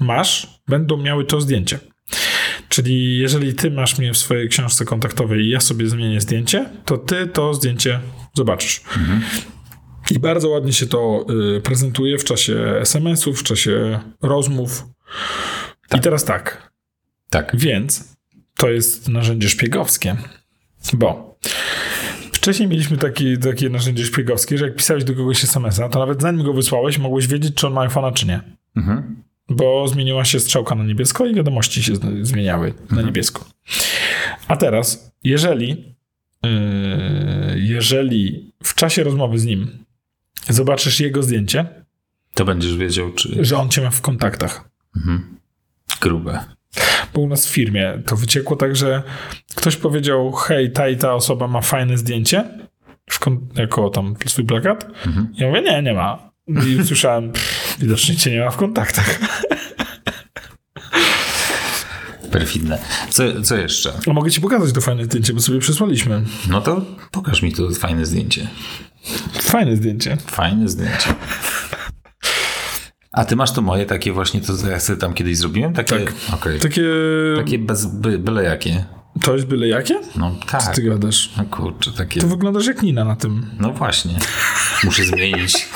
[SPEAKER 2] masz, będą miały to zdjęcie. Czyli jeżeli ty masz mnie w swojej książce kontaktowej i ja sobie zmienię zdjęcie, to ty to zdjęcie zobaczysz. I bardzo ładnie się to y, prezentuje w czasie SMS-ów, w czasie rozmów. I teraz tak,
[SPEAKER 1] Tak.
[SPEAKER 2] więc to jest narzędzie szpiegowskie, bo wcześniej mieliśmy taki, takie narzędzie szpiegowskie, że jak pisałeś do kogoś SMS-a, to nawet zanim go wysłałeś, mogłeś wiedzieć, czy on ma iPhone'a, czy nie.
[SPEAKER 1] Mhm.
[SPEAKER 2] Bo zmieniła się strzałka na niebiesko i wiadomości się zn- zmieniały na niebiesko. A teraz, jeżeli, yy, jeżeli w czasie rozmowy z nim zobaczysz jego zdjęcie,
[SPEAKER 1] To będziesz wiedział, czy.
[SPEAKER 2] że on cię ma w kontaktach.
[SPEAKER 1] Mhm. Grube.
[SPEAKER 2] Bo u nas w firmie to wyciekło tak, że ktoś powiedział, hej, ta i ta osoba ma fajne zdjęcie, w kon- jako tam swój plakat. Ja mówię, nie, nie ma. I usłyszałem, "Pff, widocznie cię nie ma w kontaktach.
[SPEAKER 1] Perfidne. Co, co jeszcze?
[SPEAKER 2] A No, mogę ci pokazać to fajne zdjęcie, bo sobie przysłaliśmy.
[SPEAKER 1] No to pokaż mi to fajne zdjęcie.
[SPEAKER 2] Fajne zdjęcie.
[SPEAKER 1] Fajne zdjęcie. A ty masz to moje takie właśnie, to co ja sobie tam kiedyś zrobiłem? Takie,
[SPEAKER 2] Tak.
[SPEAKER 1] okej.
[SPEAKER 2] Takie...
[SPEAKER 1] takie bez, by, byle jakie.
[SPEAKER 2] To jest byle jakie?
[SPEAKER 1] No tak.
[SPEAKER 2] Ty gadasz.
[SPEAKER 1] No kurczę, takie.
[SPEAKER 2] To wyglądasz jak Nina na tym.
[SPEAKER 1] No właśnie. Muszę zmienić.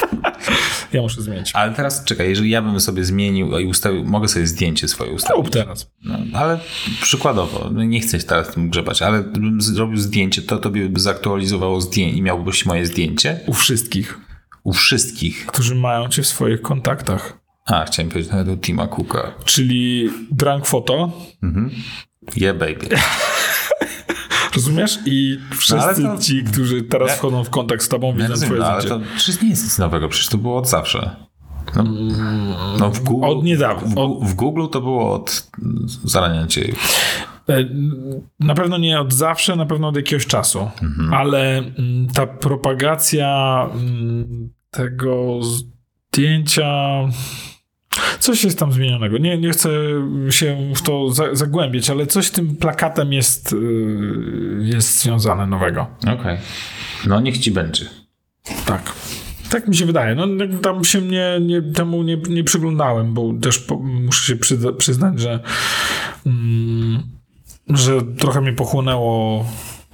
[SPEAKER 2] Ja muszę zmienić.
[SPEAKER 1] Ale teraz czekaj, jeżeli ja bym sobie zmienił i ustawił, mogę sobie zdjęcie swoje
[SPEAKER 2] Rób
[SPEAKER 1] ustawić.
[SPEAKER 2] teraz.
[SPEAKER 1] No, ale przykładowo, no nie chcę się teraz tym grzebać, ale gdybym zrobił zdjęcie, to tobie by zaktualizowało zdjęcie i miałbyś moje zdjęcie
[SPEAKER 2] U wszystkich,
[SPEAKER 1] u wszystkich.
[SPEAKER 2] którzy mają cię w swoich kontaktach.
[SPEAKER 1] A, chciałem powiedzieć nawet u Tima Cooka.
[SPEAKER 2] Czyli drunk photo,
[SPEAKER 1] Yeah baby.
[SPEAKER 2] Rozumiesz? I wszyscy
[SPEAKER 1] No, ale to-
[SPEAKER 2] ci, którzy teraz
[SPEAKER 1] Ja-
[SPEAKER 2] wchodzą w kontakt z tobą,
[SPEAKER 1] Ja
[SPEAKER 2] widzą
[SPEAKER 1] rozumiem,
[SPEAKER 2] twoje
[SPEAKER 1] no, ale
[SPEAKER 2] zdjęcie.
[SPEAKER 1] to przecież nie jest nic nowego, przecież to było od zawsze. No, no w Google,
[SPEAKER 2] Od niedawna.
[SPEAKER 1] W, Gu- w Google to było od zarania dziejów.
[SPEAKER 2] E, Na pewno nie od zawsze, na pewno od jakiegoś czasu,
[SPEAKER 1] Mhm.
[SPEAKER 2] ale mm, ta propagacja mm, tego zdjęcia. Coś jest tam zmienionego. Nie, nie chcę się w to za- zagłębiać, ale coś z tym plakatem jest, y, jest związane nowego.
[SPEAKER 1] Okej. No niech ci będzie.
[SPEAKER 2] Tak. Tak mi się wydaje. No, jak tam się nie, nie, temu nie, nie przyglądałem, bo też po, muszę się przyza- przyznać, że, mm, że trochę mnie pochłonęło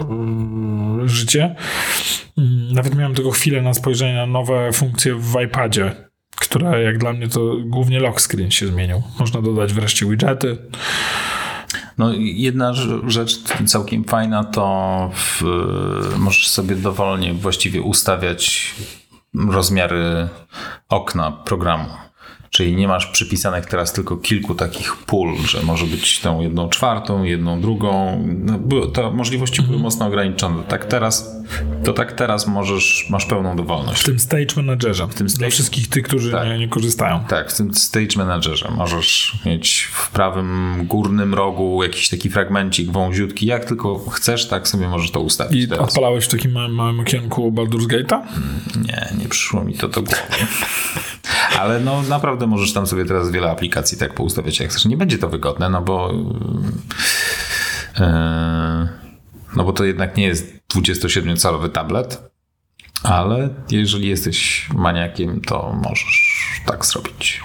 [SPEAKER 2] mm, życie. Mm, Nawet miałem tylko chwilę na spojrzenie na nowe funkcje w iPadzie, które jak dla mnie to głównie lock screen się zmienił. Można dodać wreszcie widgety.
[SPEAKER 1] No i jedna rz- rzecz całkiem fajna to w, możesz sobie dowolnie właściwie ustawiać rozmiary okna programu. Czyli nie masz przypisanych teraz tylko kilku takich pól, że może być tą jedną czwartą, jedną drugą. No, było- te możliwości były mocno ograniczone. Tak teraz, to tak teraz możesz, masz pełną dowolność.
[SPEAKER 2] W tym Stage Managerze. W tym Dla
[SPEAKER 1] stage-
[SPEAKER 2] wszystkich tych, którzy
[SPEAKER 1] Tak.
[SPEAKER 2] nie, nie korzystają.
[SPEAKER 1] Tak, w tym stage managerze możesz mieć w prawym górnym rogu jakiś taki fragmencik wąziutki. Jak tylko chcesz, tak sobie możesz to ustawić.
[SPEAKER 2] I
[SPEAKER 1] teraz.
[SPEAKER 2] odpalałeś w takim małym, małym okienku Baldur's Gate'a?
[SPEAKER 1] Nie, nie przyszło mi to do głowy. Ale no naprawdę możesz tam sobie teraz wiele aplikacji tak poustawiać jak chcesz. Nie będzie to wygodne, no bo yy, no bo to jednak nie jest 27-calowy tablet, ale jeżeli jesteś maniakiem, to możesz tak zrobić.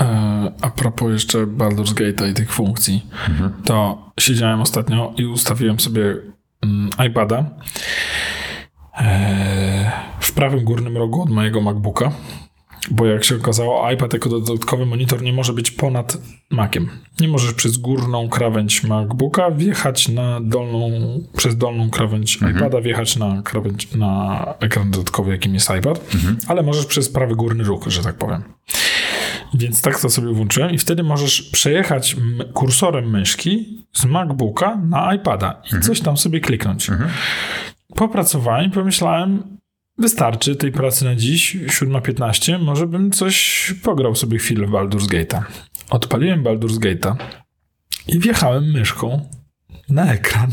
[SPEAKER 2] E, A propos jeszcze Baldur's Gate'a i tych funkcji, to siedziałem ostatnio i ustawiłem sobie mm, iPada e, w prawym górnym rogu od mojego MacBooka, bo jak się okazało, iPad jako dodatkowy monitor nie może być ponad Maciem. Nie możesz przez górną krawędź MacBooka wjechać na dolną, przez dolną krawędź iPada wjechać na krawędź, na ekran dodatkowy, jakim jest iPad, ale możesz przez prawy górny róg, że tak powiem. Więc tak to sobie włączyłem i wtedy możesz przejechać m- kursorem myszki z MacBooka na iPada i coś tam sobie kliknąć. Popracowałem i pomyślałem, wystarczy tej pracy na dziś, 7.15, może bym coś pograł sobie chwilę w Baldur's Gate'a. Odpaliłem Baldur's Gate'a i wjechałem myszką na ekran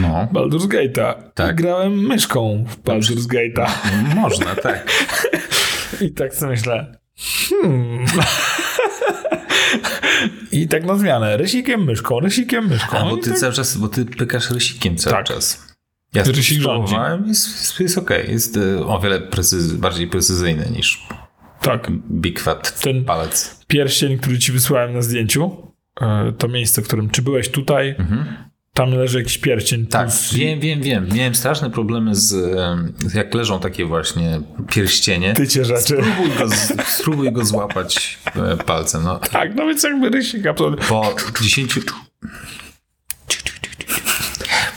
[SPEAKER 1] No,
[SPEAKER 2] Baldur's Gate'a.
[SPEAKER 1] Tak.
[SPEAKER 2] I grałem myszką w Baldur's Gate'a.
[SPEAKER 1] można, tak.
[SPEAKER 2] I tak sobie myślę. Hmm. I tak na zmianę. Rysikiem, myszką, rysikiem, myszką.
[SPEAKER 1] A, bo
[SPEAKER 2] I
[SPEAKER 1] ty
[SPEAKER 2] tak...
[SPEAKER 1] cały czas, bo ty pykasz rysikiem cały
[SPEAKER 2] Tak.
[SPEAKER 1] czas. Ja
[SPEAKER 2] Rysik rządzi.
[SPEAKER 1] spróbowałem, jest, jest, jest okej. Jest y, o wiele precyz, bardziej precyzyjny niż
[SPEAKER 2] tak.
[SPEAKER 1] Big Fat
[SPEAKER 2] Ten-
[SPEAKER 1] palec.
[SPEAKER 2] Pierścień, który ci wysłałem na zdjęciu, e, to miejsce, w którym czy byłeś tutaj, tam leży jakiś pierścień.
[SPEAKER 1] Mhm. Tak,
[SPEAKER 2] plus-
[SPEAKER 1] wiem, wiem, wiem. Miałem straszne problemy z, em, jak leżą takie właśnie pierścienie.
[SPEAKER 2] Tycie rzeczy.
[SPEAKER 1] Spróbuj go, z- spróbuj go złapać e, palcem. No,
[SPEAKER 2] Tak, no więc jakby rysik absolutnie.
[SPEAKER 1] po 10...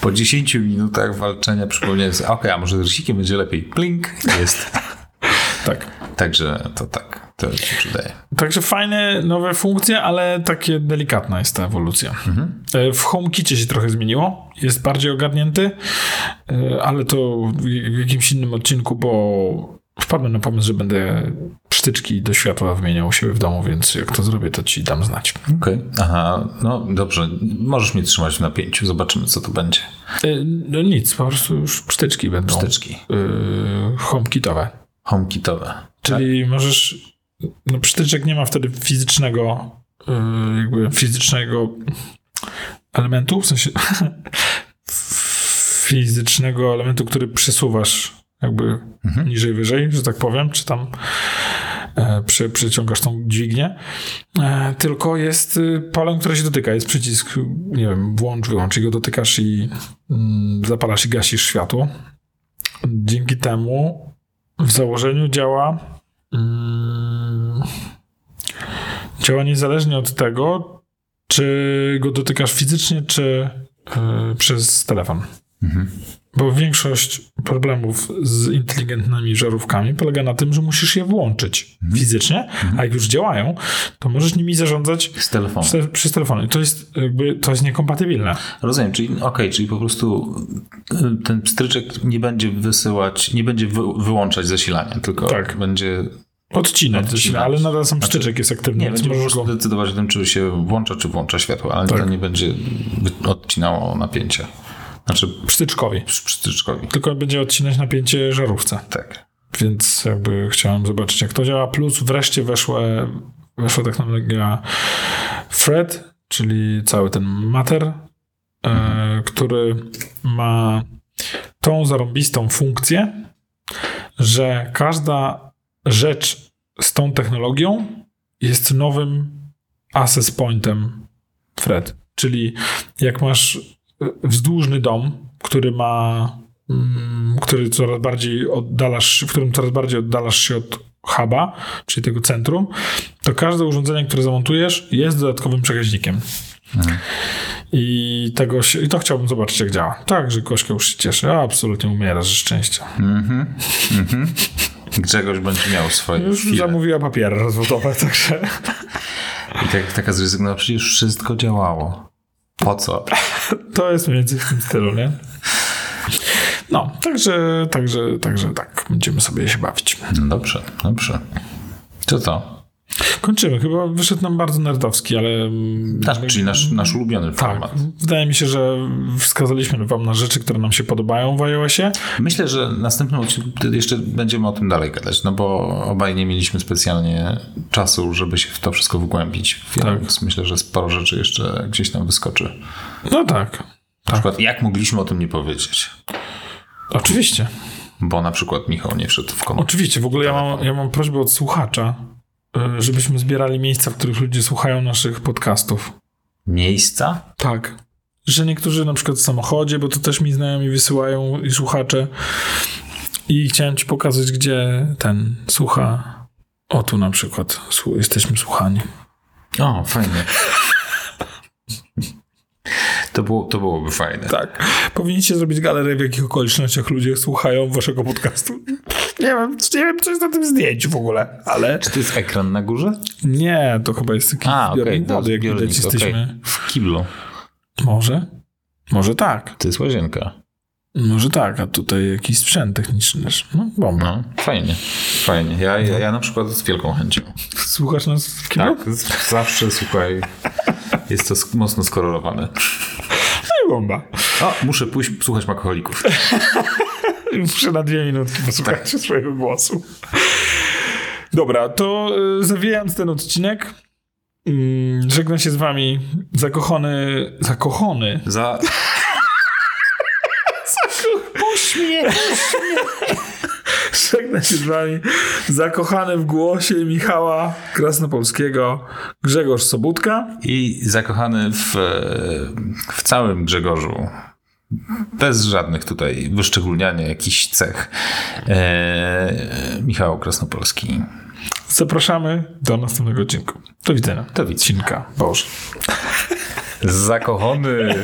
[SPEAKER 1] Po 10 minutach walczenia przypomniałem sobie, okej, a może rysikiem będzie lepiej. Plink, jest.
[SPEAKER 2] Tak.
[SPEAKER 1] Także to tak, to się przydaje.
[SPEAKER 2] Także fajne nowe funkcje, ale takie delikatna jest ta ewolucja. E, W HomeKitie się trochę zmieniło. Jest bardziej ogarnięty, e, ale to w w jakimś innym odcinku, bo wpadłem na pomysł, że będę sztyczki do światła wymieniał u siebie w domu, więc jak to zrobię, to ci dam znać.
[SPEAKER 1] Okej. Aha, no dobrze, możesz mnie trzymać w napięciu, zobaczymy co to będzie.
[SPEAKER 2] E, No nic, po prostu już sztyczki będą.
[SPEAKER 1] Wsteczki
[SPEAKER 2] y, HomeKitowe.
[SPEAKER 1] homekitowe.
[SPEAKER 2] Czyli możesz. No przytyczek nie ma wtedy fizycznego, y, jakby fizycznego elementu, w sensie fizycznego elementu, który przesuwasz jakby niżej, wyżej, że tak powiem, czy tam e, przy, przyciągasz tą dźwignię. E, tylko jest y, polem, które się dotyka. Jest przycisk, nie wiem, włącz, wyłącz i go dotykasz i mm, zapalasz i gasisz światło. Dzięki temu w założeniu działa. mm, działa niezależnie od tego, czy go dotykasz fizycznie, czy y, przez telefon. Bo większość problemów z inteligentnymi żarówkami polega na tym, że musisz je włączyć fizycznie, a jak już działają, to możesz nimi zarządzać
[SPEAKER 1] Z telefonu.
[SPEAKER 2] przy, przez telefon. I to jest jakby, to jest niekompatybilne.
[SPEAKER 1] Rozumiem, czyli no okej, czyli po prostu y, ten pstryczek nie będzie wysyłać, nie będzie wy, wyłączać zasilania, tylko
[SPEAKER 2] Tak.
[SPEAKER 1] będzie,
[SPEAKER 2] Odcinać,
[SPEAKER 1] Odcinać.
[SPEAKER 2] ale nadal sam sztyczek jest aktywny,
[SPEAKER 1] Znaczy, nie,
[SPEAKER 2] więc
[SPEAKER 1] będzie po
[SPEAKER 2] możesz
[SPEAKER 1] prostu
[SPEAKER 2] go Tak.
[SPEAKER 1] decydować o tym, czy się włącza, czy włącza światło, ale to nie będzie wy- odcinało napięcia. Znaczy
[SPEAKER 2] psztyczkowi.
[SPEAKER 1] przy- pstryczkowi.
[SPEAKER 2] Tylko będzie odcinać napięcie żarówce.
[SPEAKER 1] Tak.
[SPEAKER 2] Więc jakby chciałem zobaczyć, jak to działa. Plus wreszcie weszła, weszła technologia Thread, czyli cały ten mater, e, który ma tą zarąbistą funkcję, że każda rzecz z tą technologią jest nowym access pointem Thread. Czyli jak masz e, wzdłużny dom, który ma mm, który coraz bardziej oddalasz, w którym coraz bardziej oddalasz się od huba, czyli tego centrum, to każde urządzenie, które zamontujesz, jest dodatkowym przekaźnikiem. Mhm. I, tego się, I to chciałbym zobaczyć, jak działa. Tak, że Kośka już się cieszy. A, absolutnie umiera ze szczęścia.
[SPEAKER 1] Grzegorz będzie miał swoje
[SPEAKER 2] No Już
[SPEAKER 1] chwile.
[SPEAKER 2] zamówiła papiery rozwodowe, także...
[SPEAKER 1] I tak, taka zrezygnowała, przecież wszystko działało. Po co?
[SPEAKER 2] To jest mniej więcej w tym stylu, nie? No, także, także, także tak. Będziemy sobie się bawić.
[SPEAKER 1] No dobrze, dobrze. Co to?
[SPEAKER 2] Kończymy. Chyba wyszedł nam bardzo nerdowski, ale... mm,
[SPEAKER 1] Nasz, czyli nasz, nasz ulubiony
[SPEAKER 2] Tak.
[SPEAKER 1] format.
[SPEAKER 2] Wydaje mi się, że wskazaliśmy wam na rzeczy, które nam się podobają w iOSie.
[SPEAKER 1] Myślę, że w następnym odcinku wtedy jeszcze będziemy o tym dalej gadać, no bo obaj nie mieliśmy specjalnie czasu, żeby się w to wszystko wgłębić.
[SPEAKER 2] Tak.
[SPEAKER 1] Więc myślę, że sporo rzeczy jeszcze gdzieś tam wyskoczy. Na
[SPEAKER 2] No tak.
[SPEAKER 1] przykład, jak mogliśmy o tym nie powiedzieć?
[SPEAKER 2] Oczywiście.
[SPEAKER 1] Bo na przykład Michał nie wszedł w komentarz.
[SPEAKER 2] Oczywiście. W ogóle ja mam, ja mam prośbę od słuchacza, y, żebyśmy zbierali miejsca, w których ludzie słuchają naszych podcastów.
[SPEAKER 1] Miejsca?
[SPEAKER 2] Tak. Że niektórzy na przykład w samochodzie, bo to też mi znajomi wysyłają i słuchacze, I chciałem ci pokazać, gdzie ten słucha. O, tu na przykład Słu- jesteśmy słuchani.
[SPEAKER 1] O, fajnie. To, było, to byłoby fajne.
[SPEAKER 2] Tak. Powinniście zrobić galerię, w jakich okolicznościach ludzie słuchają waszego podcastu. Nie wiem, nie wiem co jest na tym zdjęciu w ogóle, ale...
[SPEAKER 1] Czy to jest ekran na górze?
[SPEAKER 2] Nie, to chyba jest taki
[SPEAKER 1] A, okej,
[SPEAKER 2] zbiornik
[SPEAKER 1] okay,
[SPEAKER 2] wody, jak widać jesteśmy.
[SPEAKER 1] w kiblu.
[SPEAKER 2] Może? Może tak.
[SPEAKER 1] To jest łazienka.
[SPEAKER 2] Może tak, a tutaj jakiś sprzęt techniczny też. No, bomba. No.
[SPEAKER 1] No, fajnie. Fajnie. Ja, ja, ja na przykład z wielką chęcią.
[SPEAKER 2] Słuchasz nas w kino?
[SPEAKER 1] Tak, z- zawsze słuchaj. Jest to sk- mocno skorelowane.
[SPEAKER 2] No i bomba.
[SPEAKER 1] O, muszę pójść słuchać makoholików.
[SPEAKER 2] Muszę na dwie minutki posłuchać swojego głosu. Dobra, to y, zawijając ten odcinek, mm, żegnam się z wami zakochany, zakochony
[SPEAKER 1] Za
[SPEAKER 2] Żegna się z wami zakochany w głosie Michała Krasnopolskiego Grzegorz Sobutka.
[SPEAKER 1] i zakochany w, e, w całym Grzegorzu. Bez żadnych tutaj wyszczególniania jakichś cech. E, Michał Krasnopolski.
[SPEAKER 2] Zapraszamy do następnego odcinka. Do widzenia.
[SPEAKER 1] Do widzenia.
[SPEAKER 2] Odcinka. Boże.
[SPEAKER 1] Zakochany.